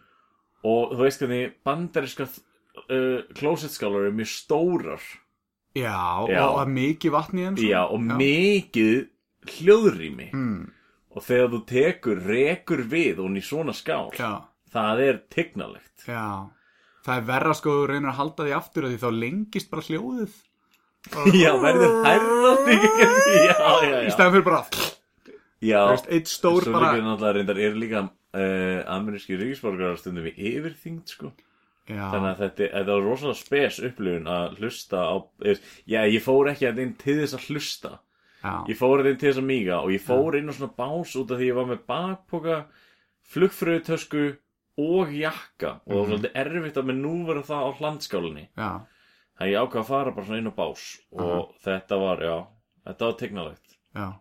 [SPEAKER 2] og þú veist hvernig bandariska uh, klósettskálar eru mjög stórar
[SPEAKER 4] já,
[SPEAKER 2] Já.
[SPEAKER 4] og að mikið vatni enn
[SPEAKER 2] já, og mikið hljóðrými
[SPEAKER 4] mm.
[SPEAKER 2] og þegar þú tekur, rekur við og í svona skál,
[SPEAKER 4] já,
[SPEAKER 2] það er tignalegt
[SPEAKER 4] já það er verra sko að þú reynir að halda því aftur af því þá lengist bara hljóðið
[SPEAKER 2] já, verður hærðandi já, já,
[SPEAKER 4] í
[SPEAKER 2] já,
[SPEAKER 4] stæðan fyrir bara
[SPEAKER 2] já.
[SPEAKER 4] þú veist, eitt
[SPEAKER 2] svo
[SPEAKER 4] stór bara
[SPEAKER 2] líka náttúrulega reyndar eru líka uh, ameríski ríkisborgarar stundum við yfirþyngd sko. þannig
[SPEAKER 4] já,
[SPEAKER 2] að þetta, þetta var rosalega spes upplifun að hlusta á, eh, já, ég fór ekki að inn til þess að hlusta
[SPEAKER 4] já,
[SPEAKER 2] Ég fór inn til þess að míga og ég fór inn á svona bás út af því ég var með bakpoka, flugfröðutösku og jakka og það
[SPEAKER 4] Mhm.
[SPEAKER 2] var svolítið erfitt að mér nú vera það á hlandskálinni.
[SPEAKER 4] já
[SPEAKER 2] Þannig ég ákvað að fara bara svona inn á bás og þetta var, já, þetta var tegnalegt.
[SPEAKER 4] já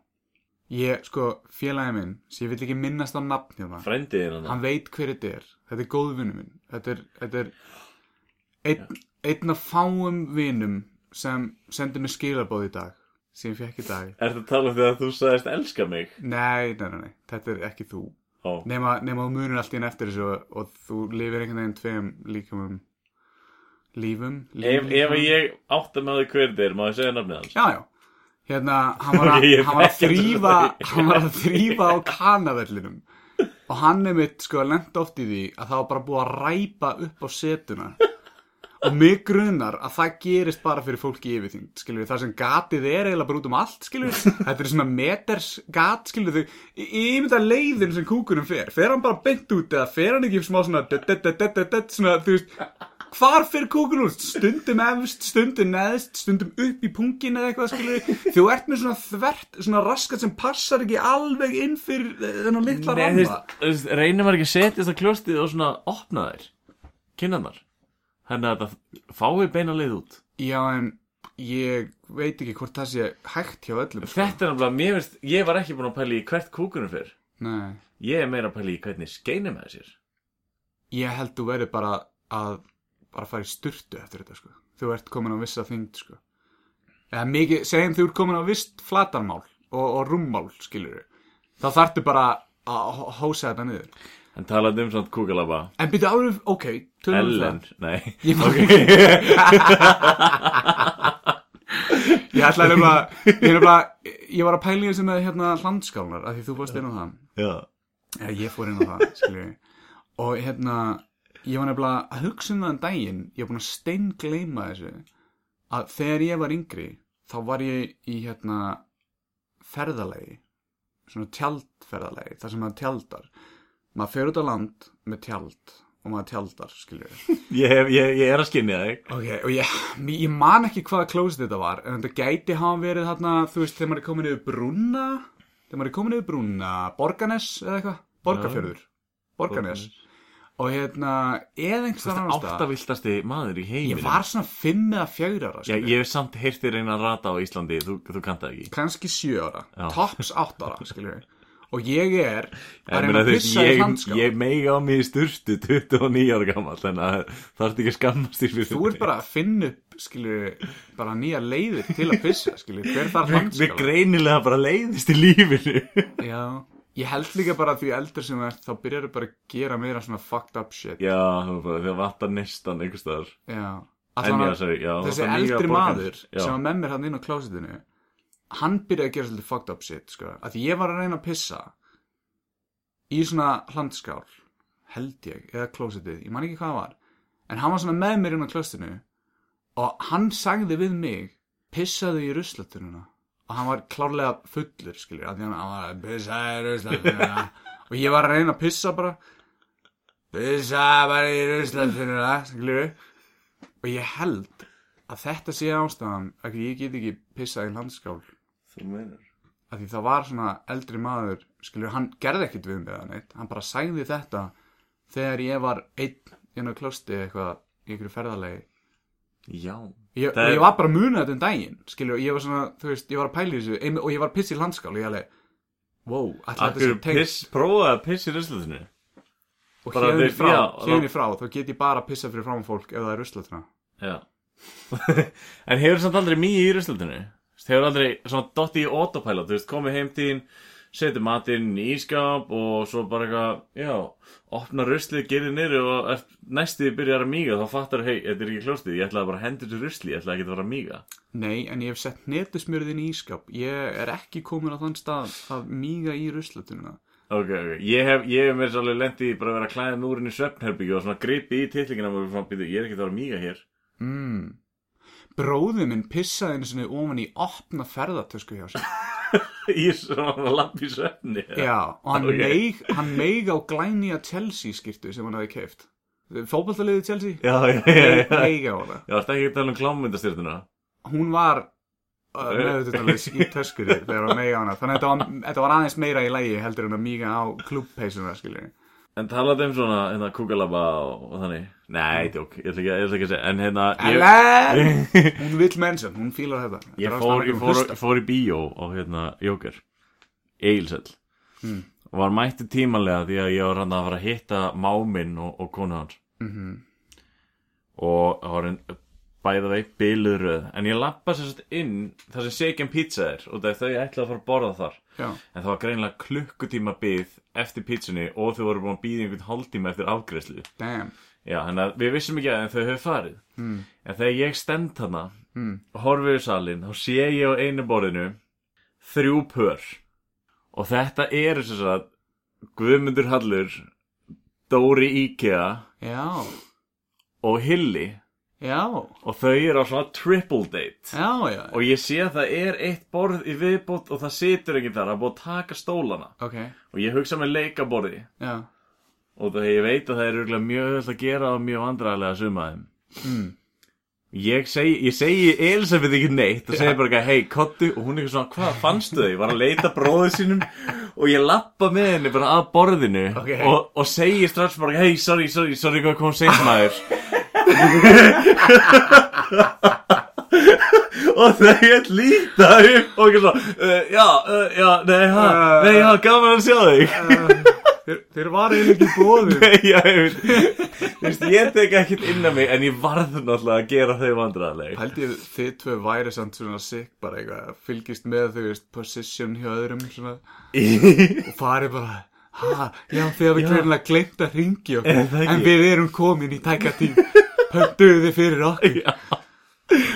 [SPEAKER 4] ég, sko, félagi minn sem ég vil ekki minnast á nafn hjá það
[SPEAKER 2] Frendiðin hann.
[SPEAKER 4] hann veit hver þetta er þetta er góðvinnu minn þetta er, þetta er einn, einn af fáum vinum sem sendi mér skilabóð í dag sem ég fekk í dag
[SPEAKER 2] Er þetta talað um þegar þú sagðist elska mig?
[SPEAKER 4] nei, nei, nei, nei, þetta er ekki þú
[SPEAKER 2] Ó,
[SPEAKER 4] nema, nema þú munir allt í enn eftir þessu og, og þú lifir einhvern veginn tveim líkumum lífum,
[SPEAKER 2] ef,
[SPEAKER 4] lífum
[SPEAKER 2] ef ég átta með því hver þér, má ég segja nafnið hans?
[SPEAKER 4] já, já hérna, hann var, að,
[SPEAKER 2] Ég er
[SPEAKER 4] hann var að
[SPEAKER 2] ekki að trúa
[SPEAKER 4] þrýfa
[SPEAKER 2] því.
[SPEAKER 4] hann var að þrýfa á kanavellinum og hann er mitt sko lent oft í því að það var bara búið að ræpa upp á setuna og mig grunar að það gerist bara fyrir fólki yfirþyngd, skilur við, það sem gatið er eiginlega bara út um allt, skilur við þetta er svona meters gat, skilur við ég mynda leiðin sem kúkunum fer fer hann bara beint út eða fer hann ekki smá svona, dött, dött, dött, dött, dött, dött, svona þú veist, hvar fyrir kúkunum út stundum efst, stundum neðst stundum upp í pungin eða eitthvað skilur þú ert með svona þvert, svona raskat sem passar ekki alveg inn fyrir eh, þennan
[SPEAKER 2] Nei,
[SPEAKER 4] litla
[SPEAKER 2] þú
[SPEAKER 4] ramma
[SPEAKER 2] veist, þú veist, reynir maður ekki að setja þetta kljóstið og svona opna þær, kynnanar. Þannig að þetta fái beina leið út.
[SPEAKER 4] já en ég veit ekki hvort það sé hægt hjá öllum sko.
[SPEAKER 2] Þetta er náttúrulega, mér finnst, ég var ekki búin að pæla í hvert kúkunum fyrr.
[SPEAKER 4] nei
[SPEAKER 2] Ég er meira að pæla í hvernig skeinum það sér.
[SPEAKER 4] ég held þú verður bara að bara fara í sturtu eftir þetta sko. þú ert komin á vissa þyngd sko. eða mikið, segjum þú ert komin á visst flatarmál og, og rúmmál skilur þá þarftu bara að hó- hósa þetta niður
[SPEAKER 2] En talaði um svona kúkalaba.
[SPEAKER 4] en byrju alveg, ok, tölum við
[SPEAKER 2] Ellen,
[SPEAKER 4] það
[SPEAKER 2] nei.
[SPEAKER 4] Ég man
[SPEAKER 2] ok.
[SPEAKER 4] ég ætla nefnilega ég, nefnilega, ég var að pæla í þessu með hérna hlandskálar, af því þú fórst inn á það
[SPEAKER 2] Já.
[SPEAKER 4] Já, ég fór inn á það, skilju. Og hérna, ég var nefnilega að hugsa um það um daginn, ég var búin að steingleima þessu, að þegar ég var yngri, þá var ég í hérna ferðalegi, svona tjaldferðalegi, þar sem maður tjaldar. Maður fer út á land með tjald og maður tjaldar, skilju.
[SPEAKER 2] Ég, hef, ég, ég er að skynja þig.
[SPEAKER 4] Ok, og ég, ég man ekki hvaða klósið þetta var, en þetta gæti hafa verið þarna, þú veist, þegar maður er komin yfir brúna, þegar maður er komin yfir brúna, Borganes eða eitthvað, Borgarfjörður, Borganes. og hérna, eða
[SPEAKER 2] Þú
[SPEAKER 4] einhvers
[SPEAKER 2] veist,
[SPEAKER 4] staðar annars staðar-
[SPEAKER 2] áttavilltasti maður í heiminum
[SPEAKER 4] Ég var svona fimm eða fjögur ára
[SPEAKER 2] Já,
[SPEAKER 4] skilur.
[SPEAKER 2] ég hef samt heyrti reyna að rata á Íslandi, þú, þú kanta ekki.
[SPEAKER 4] kannski sjö ára,
[SPEAKER 2] Já.
[SPEAKER 4] tops átt ára skilur. og ég er
[SPEAKER 2] Ég
[SPEAKER 4] að reyna
[SPEAKER 2] meina,
[SPEAKER 4] að
[SPEAKER 2] þú veist,
[SPEAKER 4] pissa í sko.
[SPEAKER 2] ég,
[SPEAKER 4] handská
[SPEAKER 2] ég meiga á mig í sturtu 29 ára gammal, þannig að það ert ekki að skammast í fyrir
[SPEAKER 4] þú ert bara að finna upp skilur, bara nýja leiðir til að pissa skilur. hver þarf
[SPEAKER 2] Við
[SPEAKER 4] handská
[SPEAKER 2] greinilega bara leiðist í lífinu.
[SPEAKER 4] Já. ég held líka bara að því eldri sem þú ert þá byrjar þú bara að gera meira svona fucked up shit
[SPEAKER 2] já, þú bara, þegar vatnar nestan einhvers staðar.
[SPEAKER 4] Já.
[SPEAKER 2] En
[SPEAKER 4] Allan
[SPEAKER 2] já,
[SPEAKER 4] að
[SPEAKER 2] sorry, já.
[SPEAKER 4] þessi
[SPEAKER 2] vantar nýja
[SPEAKER 4] eldri
[SPEAKER 2] borgarans.
[SPEAKER 4] maður
[SPEAKER 2] Já.
[SPEAKER 4] sem var með mér hann inn á klósitinu hann byrjaði að gera svolítið fucked up shit sko. að því ég var að reyna að pissa í svona hlandskál held ég, eða klósitið ég man ekki hvað það var en hann var svona með mér inn á klósitinu og hann sagði við mig pissaðu í ruslatununa og hann var klárlega fullur skilur, að því hann, hann var að pissaðu í ruslatununa og ég var að reyna að pissa bara pissaðu bara í ruslatununa skilur og ég held að þetta sé ástæðan að ég get ekki pissað í landskál
[SPEAKER 2] Þú meinar.
[SPEAKER 4] að því það var svona eldri maður skilur, hann gerði ekkit við mig eða neitt hann bara sagði þetta þegar ég var einn inn á klosti eitthvað í einhverju ferðalegi
[SPEAKER 2] Já.
[SPEAKER 4] ég,
[SPEAKER 2] Það er-
[SPEAKER 4] og ég var bara að muna þetta um daginn skilur, og ég var svona, þú veist, ég var að pæla í þessu ein, og ég var að pissa í landskál og ég alveg wow, alltaf
[SPEAKER 2] Akkur
[SPEAKER 4] þessi tengt
[SPEAKER 2] piss, prófaði að piss í ruslutinu.
[SPEAKER 4] og
[SPEAKER 2] bara
[SPEAKER 4] hérna
[SPEAKER 2] þeir-
[SPEAKER 4] frá,
[SPEAKER 2] já,
[SPEAKER 4] hérna frá, þá get ég bara að pissa fyrir fram fólk ef það er ruslatina
[SPEAKER 2] Já. en hefur samt aldrei mýið í ruslutinu? Hefur aldrei svona dotti í autopilot, þú veist, komið heim tíðin, setið matinn í ískap og svo bara eitthvað, já, opna ruslið, gerðið niður og ert- næst þið byrjar að mýga þá fattar, hei, þetta er ekki klóstið, ég ætlaði bara að hendi þessu rusli, ég ætlaði ekki að fara að mýga.
[SPEAKER 4] Nei, en ég hef sett netusmjörðin í ískap. Ég er ekki komin á þann stað að míga í ruslatununa.
[SPEAKER 2] Ok, ok, ég hef, ég hef mér svo alveg lendið í bara að vera að klæða núrin í svefnherbyggju og svona gripið í titlingina og svona, býtu, ég er ekki að fara að mýga hér.
[SPEAKER 4] Mm. Bróðið minn pissaði einu sinni ofan í opna ferðartösku hjá sér.
[SPEAKER 2] Ég er svona að lappa í svefni.
[SPEAKER 4] Já, og hann,
[SPEAKER 2] Ok.
[SPEAKER 4] meig, hann meig á glænýja Chelsea skýrtu sem hann hafi keift. Fóbaltaliðið Chelsea?
[SPEAKER 2] já, já, já, já.
[SPEAKER 4] Meig á hana.
[SPEAKER 2] Já, þetta ekki að tala um klámyndastyrtuna.
[SPEAKER 4] Hún var uh, meðututalins í töskunni þegar hann meig á hana. Þannig að þetta var, þetta var aðeins meira í lægi heldur en að míga á klubpeisuna, skiljið.
[SPEAKER 2] En talaðu um svona, hérna, kúkalabba og, og þannig. Nei, djók, ég ætla ekki, að- ég ætla ekki að segja, en hérna...
[SPEAKER 4] Ellen!
[SPEAKER 2] Ég,
[SPEAKER 4] Hún vill mennsum, hún fílar þetta. Þetta
[SPEAKER 2] ég,
[SPEAKER 4] er
[SPEAKER 2] fór,
[SPEAKER 4] ástæðan
[SPEAKER 2] ég
[SPEAKER 4] hún
[SPEAKER 2] fór,
[SPEAKER 4] hlustar.
[SPEAKER 2] fór í bíó og hérna, Jóker, Egilsell.
[SPEAKER 4] Mm.
[SPEAKER 2] Og var mætti tímanlega því að ég var hann að fara að hitta máminn og, og konu hans.
[SPEAKER 4] Mhm.
[SPEAKER 2] og það var einn bæða vei biluröð en ég lappa sér svolítið inn þar sem Shaken Pizza er og það er þau ætlaði að fara að borða þar
[SPEAKER 4] Já,
[SPEAKER 2] en það var greinilega klukkutíma bið eftir pizzunni og þau voru búin að býða einhvern hálftíma eftir afgreðslu
[SPEAKER 4] damn
[SPEAKER 2] já, þannig að við vissum ekki að þau höfðu farið
[SPEAKER 4] mm,
[SPEAKER 2] en þegar ég stend hana
[SPEAKER 4] mm.
[SPEAKER 2] og horfi í salin þá sé ég á einu borðinu þrjú pör og þetta eru sem sagt Guðmundur Hallur Dóri Íkea
[SPEAKER 4] Já,
[SPEAKER 2] og Hilli
[SPEAKER 4] já,
[SPEAKER 2] og þau eru á svona triple date
[SPEAKER 4] já, já
[SPEAKER 2] Og ég sé að það er eitt borð í viðbót og það situr ekki þar, það er búið að taka stólana.
[SPEAKER 4] Ok,
[SPEAKER 2] Og ég hugsa með leikaborði
[SPEAKER 4] já
[SPEAKER 2] og það ég veit að það er örugglega mjög öll að gera og mjög vandræðilega sumaðum.
[SPEAKER 4] mm.
[SPEAKER 2] Ég segi, ég segi Elisabeth ekki neitt og segi bara eitthvað, hei, kottu, og hún er eitthvað svona, hvað fannstu þau? Ég var að leita bróðu sínum og ég lappa með henni bara að borðinu
[SPEAKER 4] Ok.
[SPEAKER 2] og, og segi strax bara, hei, sorry, sorry, sorry, hvað kom seint maður? og þau er líta upp og ekki svona, uh, já, uh, já, nei, ha,
[SPEAKER 4] Ah.
[SPEAKER 2] nei, já, gaman að sjá þig.
[SPEAKER 4] Þeir, þeir var eiginlega ekki bóðum
[SPEAKER 2] Nei, já, ég veit, þú veist, ég tek ekkert inn að mig en ég varð náttúrulega að gera þau vandræðileg.
[SPEAKER 4] Hældi þið tvö væri samt svona sick bara eitthvað Fylgist með þú veist position hjá öðrum svona Og farið bara Ha, já þið hafið hverjulega gleymt að ringi okkur
[SPEAKER 2] Er það ekki?
[SPEAKER 4] En við erum komin í tæka tím Pöntuðu þið fyrir okkur
[SPEAKER 2] Já.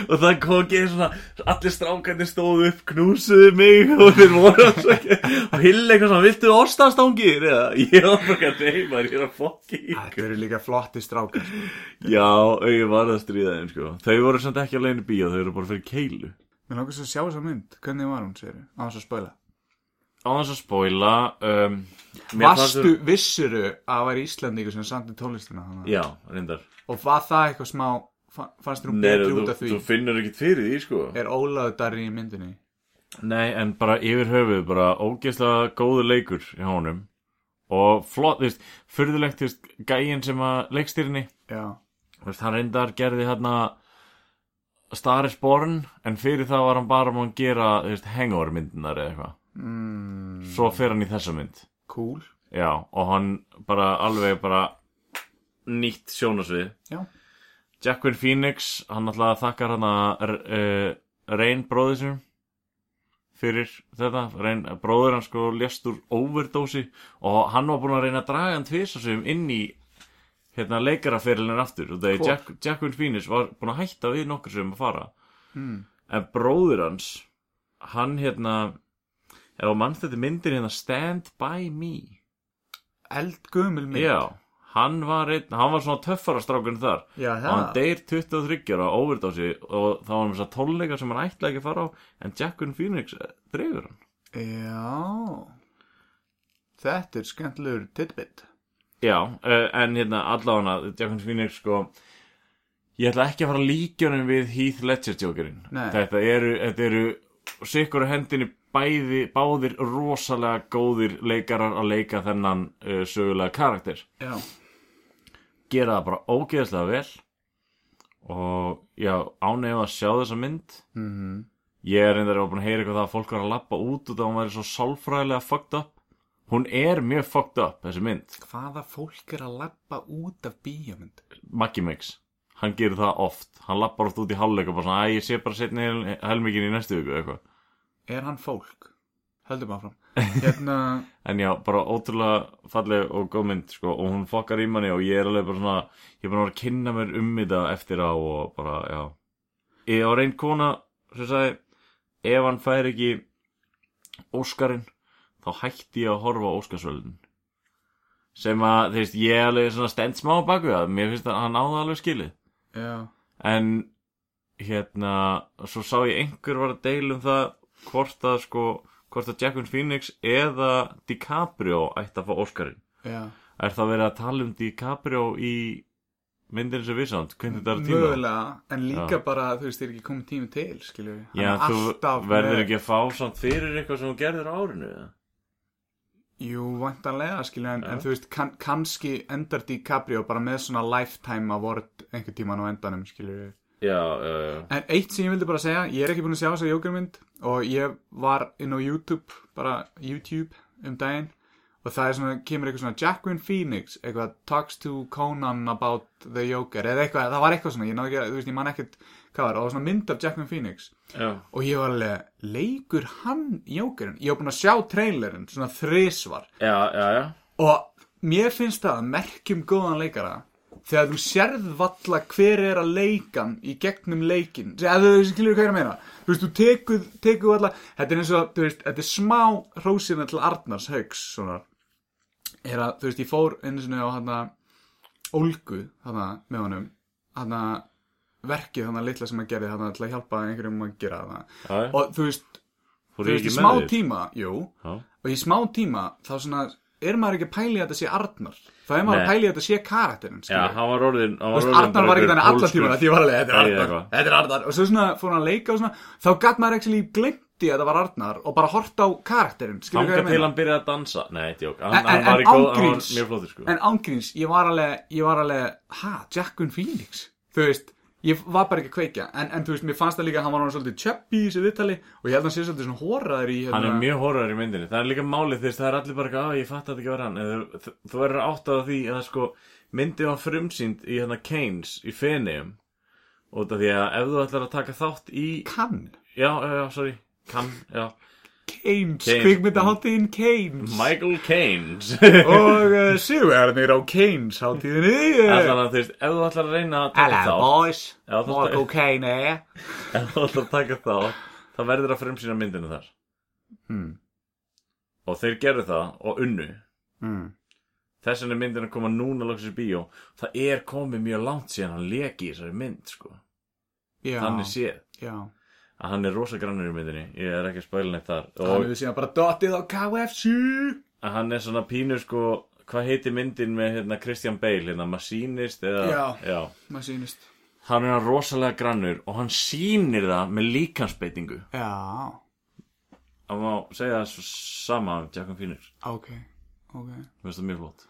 [SPEAKER 2] Og það kom ekki svona, allir strákarnir stóðu upp, knúsuðu mig og þeir voru að sækja og hildi eitthvað svona, viltu orstastangir? Eða, ég var bara að deyma, ég er að fokki í
[SPEAKER 4] Þetta eru líka flotti strákar sko.
[SPEAKER 2] Já, ég var að stríða þeim, sko. Þau voru samt ekki alveg inn í bíó, þau voru bara fyrir keilu.
[SPEAKER 4] Mér langar svo að sjá þessa mynd Hvernig var hún, segir Á þess að spæla
[SPEAKER 2] Á þess að spóila, um, mér fannst
[SPEAKER 4] Vastu, vissuru að það var Íslandíkur sem sandi tónlistina þannig að-
[SPEAKER 2] Já, reyndar.
[SPEAKER 4] Og var það eitthvað smá, fa- fannst þér hún
[SPEAKER 2] Nei,
[SPEAKER 4] betri
[SPEAKER 2] þú,
[SPEAKER 4] út af því?
[SPEAKER 2] þú finnur ekkert fyrir því, sko.
[SPEAKER 4] Er Ólaður Darri í myndinni?
[SPEAKER 2] Nei, en bara yfir höfuð, bara ógeðslega góður leikur hjá honum. og flott, þú veist, furðulegt, þú veist, gæin sem að leikstýrinni,
[SPEAKER 4] já,
[SPEAKER 2] þú veist, hann reyndar gerði hérna Star is Born, en fyrir það var hann bara múin að gera, þú veist, hangover myndinar eða eitthvað,
[SPEAKER 4] mm,
[SPEAKER 2] svo fer hann í þessa mynd,
[SPEAKER 4] cool
[SPEAKER 2] já, og hann bara alveg bara nýtt sjónasvið,
[SPEAKER 4] já,
[SPEAKER 2] Jacqueline Phoenix, hann alltaf þakkar hann að uh, Rain bróðir sér fyrir þetta, Rain, bróðir hann sko lést úr overdósi og hann var búin að reyna að draga hann tvisasum inn í hérna leikaraferilin aftur og þegar
[SPEAKER 4] Hvor?
[SPEAKER 2] Jack, Jacqueline Phoenix var búin að hætta við nokkur sem að fara
[SPEAKER 4] Mm.
[SPEAKER 2] en bróðir hans hann hérna ef að mann þetta myndir hérna Stand By Me
[SPEAKER 4] eldgumil mynd
[SPEAKER 2] já, hann var, einn, hann var svona töffara strákun þar
[SPEAKER 4] já
[SPEAKER 2] og hann
[SPEAKER 4] það,
[SPEAKER 2] deyr 23 ára overdási og þá var hann þess að tónleika sem hann ætlaði ekki að fara á en Jacqueline Phoenix eh, dregur hann
[SPEAKER 4] já þetta er skemmtilegur tidbit
[SPEAKER 2] já, uh, en hérna allavega Jacqueline Phoenix sko ég ætla ekki að fara að líkja honum við Heath Ledger jokerinn
[SPEAKER 4] Nei.
[SPEAKER 2] þetta eru, þetta eru sikkur á hendinni bæði, báðir rosalega góðir leikarar að leika þennan uh, sögulega karakter
[SPEAKER 4] já,
[SPEAKER 2] gera það bara ógeðslega vel og já, ánægjum að sjá þessa mynd
[SPEAKER 4] mhm
[SPEAKER 2] Ég er reyndar að búin að heyra eitthvað það að fólk var að lappa út út að hún væri svo sálfræðilega fucked up. Hún er mjög fucked up, þessi mynd.
[SPEAKER 4] hvaða fólk er að lappa út af bíómynd
[SPEAKER 2] Maggi Mix, hann gerir það oft. Hann lappar oft út í hálfleika og bara svona, æ, ég sé bara setni hel helmikinn í næstu viku, eitthvað.
[SPEAKER 4] er hann fólk? höldum áfram hérna,
[SPEAKER 2] En já, bara ótrúlega falleg og góð mynd, sko, og hún fokkar í manni og ég er alveg bara svona, ég er bara að kynna mér um þetta eftir á og bara, já. Ég var einn kona sem sagði, ef hann fær ekki Óskarinn, þá hætti ég að horfa á Óskarsvöldin. Sem að, þú veist, ég er alveg svona stend smá á baku það, mér finnst að hann á það alveg skilið.
[SPEAKER 4] já,
[SPEAKER 2] En, hérna, svo sá ég einhver var að deila um það hvort að, sko, hvort að Jacqueline Phoenix eða DiCaprio ætti að fá Óskarinn.
[SPEAKER 4] já
[SPEAKER 2] Er það verið að tala um DiCaprio í myndinu sem við samt? Hvernig þetta er að tíma?
[SPEAKER 4] mögulega, en líka bara þú veist, þeir ekki komið tími til, skilju
[SPEAKER 2] Já, þú verður ekki að fá samt fyrir eitthvað sem þú gerður á árinu, eða?
[SPEAKER 4] Jú, vantanlega, skilju, en, en þú veist kann, kannski endar DiCaprio bara með svona lifetime award einhvern tíman á endanum, skilju
[SPEAKER 2] Já, já, já.
[SPEAKER 4] En eitt sem ég vildi bara segja, ég er ekki búin að sjá þessa jókermynd og ég var inn á YouTube, bara YouTube um daginn og það er svona, kemur eitthvað svona Jacqueline Phoenix, eitthvað talks to Conan about the Joker eða eitthvað, það var eitthvað svona, ég náðu ekki að, þú veist, ég man ekkert hvað var, og það var svona mynd af Jacqueline Phoenix
[SPEAKER 2] Já.
[SPEAKER 4] og ég var alveg, leikur hann Jokerinn? Ég var búin að sjá trailerinn, svona þrisvar
[SPEAKER 2] Já, já, já.
[SPEAKER 4] og mér finnst það að merkjum góðan leikara þegar þú sérð valla hver er að leikan í gegnum leikin eða þú skilur hvað ég er að meina þú veist, þú tekur, tekur valla þetta er eins og, þú veist, þetta er smá hrósina til Arnars Hauks svona, er að, þú veist, ég fór einu sinni á hana, Olgu hana, með honum hana, verkið hana litla sem hann gerði hana til að hjálpa einhverjum að gera hana
[SPEAKER 2] já, já.
[SPEAKER 4] og þú veist,
[SPEAKER 2] Fór
[SPEAKER 4] þú
[SPEAKER 2] ég
[SPEAKER 4] veist,
[SPEAKER 2] ekki
[SPEAKER 4] í
[SPEAKER 2] með
[SPEAKER 4] smá
[SPEAKER 2] þér?
[SPEAKER 4] tíma, jú
[SPEAKER 2] Já.
[SPEAKER 4] og í smá tíma þá svona er maður ekki að pæli að þetta sé Arnar þá er maður
[SPEAKER 2] Nei.
[SPEAKER 4] að pæli að þetta sé karakterinn
[SPEAKER 2] Já,
[SPEAKER 4] skilur.
[SPEAKER 2] hann var orðin, hann var
[SPEAKER 4] Þú veist,
[SPEAKER 2] orðin
[SPEAKER 4] Arnar var ekki þannig alla tíma því ég var alveg, þetta
[SPEAKER 2] Nei,
[SPEAKER 4] er Arnar,
[SPEAKER 2] eitthvað.
[SPEAKER 4] þetta er Arnar og svo svona fór hann að leika og svona þá gatt maður ekki líf glemti að þetta var Arnar og bara hort á karakterinn skilur
[SPEAKER 2] Hanga
[SPEAKER 4] hvað ég
[SPEAKER 2] til
[SPEAKER 4] meina
[SPEAKER 2] hann byrjaði að dansa. Nei, tjók.
[SPEAKER 4] En-
[SPEAKER 2] Hann, hann
[SPEAKER 4] en-
[SPEAKER 2] var í
[SPEAKER 4] en
[SPEAKER 2] góð, hann var
[SPEAKER 4] ángríns.
[SPEAKER 2] mjög flóttur, sko.
[SPEAKER 4] en ángríns, ég var alveg, ég var alveg ha, Jackun Phoenix, þú veist ég var bara ekki að kveikja, en, en þú veist mér fannst það líka að hann var hann svolítið chubby í þessu viðtali og ég held að hann sé svolítið svona hóraður í hérna,
[SPEAKER 2] Hann er mjög horror í myndinni. Það er líka málið því að það er allir bara að ég fatt að þetta ekki var hann. En þú- þú- Þú verður átt af því að sko myndið var frumsýnd í hérna Keynes í Feneum. Út af því að ef þú ætlar að taka þátt í,
[SPEAKER 4] kann,
[SPEAKER 2] já, já, já, sorry, kann, já,
[SPEAKER 4] Keynes,
[SPEAKER 2] Keynes.
[SPEAKER 4] kvikmyndaháttiðin Keynes
[SPEAKER 2] Michael Keynes.
[SPEAKER 4] og uh, Sigurðarnir á Keynes hátíðinni uh,
[SPEAKER 2] Allan að þú veist, ef þú ætlar að reyna að taka
[SPEAKER 4] Hello
[SPEAKER 2] þátt,
[SPEAKER 4] boys,
[SPEAKER 2] Já, þú
[SPEAKER 4] more
[SPEAKER 2] ert-
[SPEAKER 4] cocaine eh?
[SPEAKER 2] ef þú ætlar að taka þá þá verður að fremsýna myndinu þar
[SPEAKER 4] Hmm.
[SPEAKER 2] og þeir gerðu það og unnu
[SPEAKER 4] mm.
[SPEAKER 2] þess vegna er myndin að koma núna loksins í bíó það er komið mjög langt síðan hann leki í þessari mynd sko
[SPEAKER 4] Já,
[SPEAKER 2] þannig séð
[SPEAKER 4] já
[SPEAKER 2] að hann er rosa grannur í myndinni ég er ekki að spæla neitt þar
[SPEAKER 4] Hann
[SPEAKER 2] og
[SPEAKER 4] hefur síðan bara dottið á KFC
[SPEAKER 2] að hann er svona pínu sko hvað heiti myndin með hérna Christian Bale hérna Machinist eða
[SPEAKER 4] Já.
[SPEAKER 2] já
[SPEAKER 4] Maður sýnist
[SPEAKER 2] hann er hann rosalega grannur og hann sýnir það með líkansbeitingu
[SPEAKER 4] Já,
[SPEAKER 2] hann má segja það svo sama um Jack and Phoenix
[SPEAKER 4] ok ok.
[SPEAKER 2] Mér finnst það mjög flott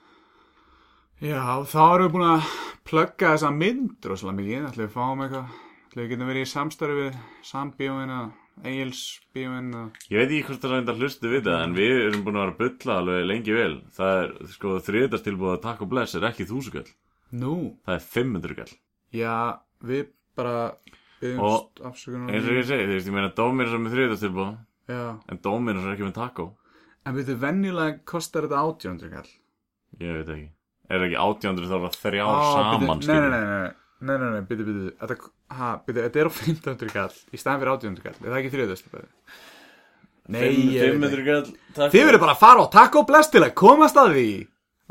[SPEAKER 4] Já, þá erum við búin að plugga þessa mynd rosalega mikið, ætlum við fáum eitthvað, ætlum við getum verið í samstarfi við Sambíóin eða Egil's bíóin eða...
[SPEAKER 2] Ég veit ekki hvort það reyndar hlustu við það en við erum búin að vera að bulla alveg lengi vel Það er sko þriðdagstilbúið að takk og bless er ekki þúsugall
[SPEAKER 4] Nú,
[SPEAKER 2] Það er 500 gall
[SPEAKER 4] já, við bara
[SPEAKER 2] Og-
[SPEAKER 4] byggjumst afsökunar.
[SPEAKER 2] Eins og ég segi, þú veist, ég meina Dóminus er með þriðdagstilbúið
[SPEAKER 4] Já,
[SPEAKER 2] en Dóminus er ekki með taco
[SPEAKER 4] en við þau venjulega kostar þetta átjóndur kall.
[SPEAKER 2] Ég veit ekki Er ekki 800 þá er það þrjá
[SPEAKER 4] Á,
[SPEAKER 2] saman
[SPEAKER 4] bíddu, Nei, nei, nei, nei, nei, nei, nei, byrju, byrju Þetta, ha, byrju, þetta er á 500 kall Í staðan fyrir 800 kall, er það ekki 300 kall? Nei, ég veit ekki.
[SPEAKER 2] 500 gall taco.
[SPEAKER 4] Þið verður bara að fara á Taco Bless til að komast að því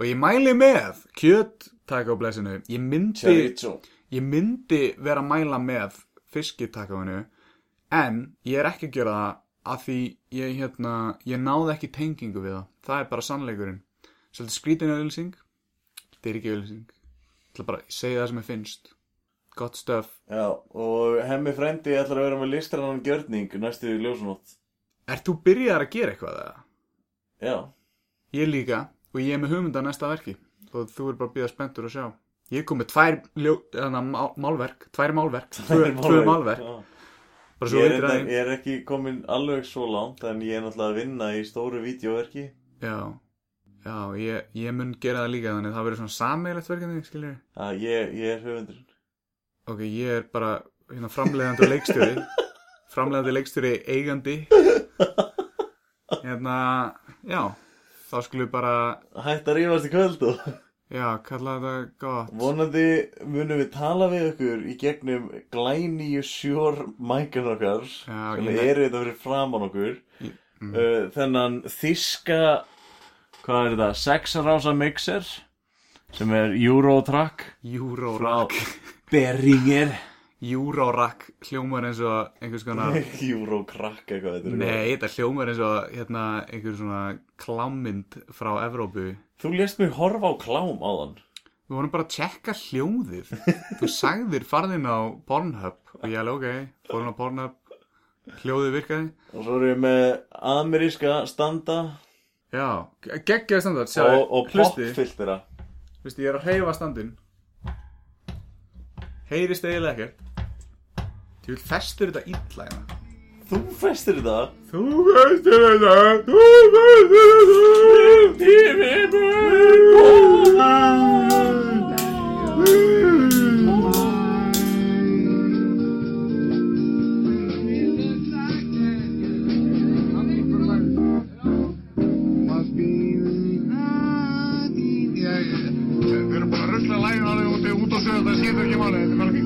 [SPEAKER 4] Og ég mæli með kjöt Taco Blessinu Ég myndi,
[SPEAKER 2] Chorizo.
[SPEAKER 4] ég myndi vera að mæla með fiskitacoinu En ég er ekki að gera það Af því ég, hérna, ég náði ekki tengingu við það Það er bara sannleikurinn Svolítið skrítin auðlýsing Þetta er ekki auðlýsing Það er bara að segja það sem ég finnst Gott stöf
[SPEAKER 2] Já, og hemmi frendi ætlar að vera með listrannan gjörning næstu ljósunótt.
[SPEAKER 4] Ert þú byrjaðar að gera eitthvað eða?
[SPEAKER 2] Já.
[SPEAKER 4] Ég líka og ég er með hugmynda næsta verki og þú er bara að býða spenntur að sjá. Ég kom með tvær ljó, hana, mál, málverk, tvær málverk, tvö, tvö málverk,
[SPEAKER 2] Já.
[SPEAKER 4] bara svo
[SPEAKER 2] Ég, er
[SPEAKER 4] veitir
[SPEAKER 2] enda,
[SPEAKER 4] að
[SPEAKER 2] ég er ekki komin alveg svo langt en ég er náttúrulega að vinna í stóru vídeoverki.
[SPEAKER 4] Já, já, ég, ég mun gera það líka þannig að það verður svona sameigilegt verkefni, skiljur við.
[SPEAKER 2] Að ég, ég er höfundurinn.
[SPEAKER 4] Ok, ég er bara hérna framleiðandi og leikstjóri, framleiðandi leikstjóri eigandi, hérna, já, þá skulum við bara,
[SPEAKER 2] Hætt að rífast í kvöld og
[SPEAKER 4] já, kalla þetta gott.
[SPEAKER 2] vonandi munum við tala við ykkur í gegnum glæníu sjór mækan okkar
[SPEAKER 4] Já,
[SPEAKER 2] sem
[SPEAKER 4] ég-
[SPEAKER 2] eru þetta fyrir framan okkur.
[SPEAKER 4] Ég- mhm.
[SPEAKER 2] Uh, þennan þíska, hvað er þetta, sexarása mixer sem er Eurotrack.
[SPEAKER 4] Júrórakk,
[SPEAKER 2] frá Beringer
[SPEAKER 4] júrórakk hljómar eins og einhvers konar...
[SPEAKER 2] Eurokrakk eitthvað þetta er eitthvað.
[SPEAKER 4] Nei, þetta hljómar eins og hérna einhver svona klámynd frá Evrópu.
[SPEAKER 2] Þú lést mig horfa á klám áðan
[SPEAKER 4] Við vorum bara að tjekka hljóðið. Þú sagðir farðin á Pornhub og ég alveg ok, fórum á Pornhub, hljóðið virkaði.
[SPEAKER 2] og svo er ég með ameríska standa
[SPEAKER 4] Já, geggjaði standart, sjá,
[SPEAKER 2] og, og
[SPEAKER 4] hlusti,
[SPEAKER 2] popfiltera
[SPEAKER 4] hlusti, ég er að hreyfa standin. Heyrist eiginlega ekkert. Þú vil festur þetta illa hérna.
[SPEAKER 2] Þú festir þetta
[SPEAKER 4] Þú festur þetta, þú festur
[SPEAKER 1] Við erum bara að rusla lægin alveg út, út á söðu, það skiptir ekki máli, þetta er bara ekki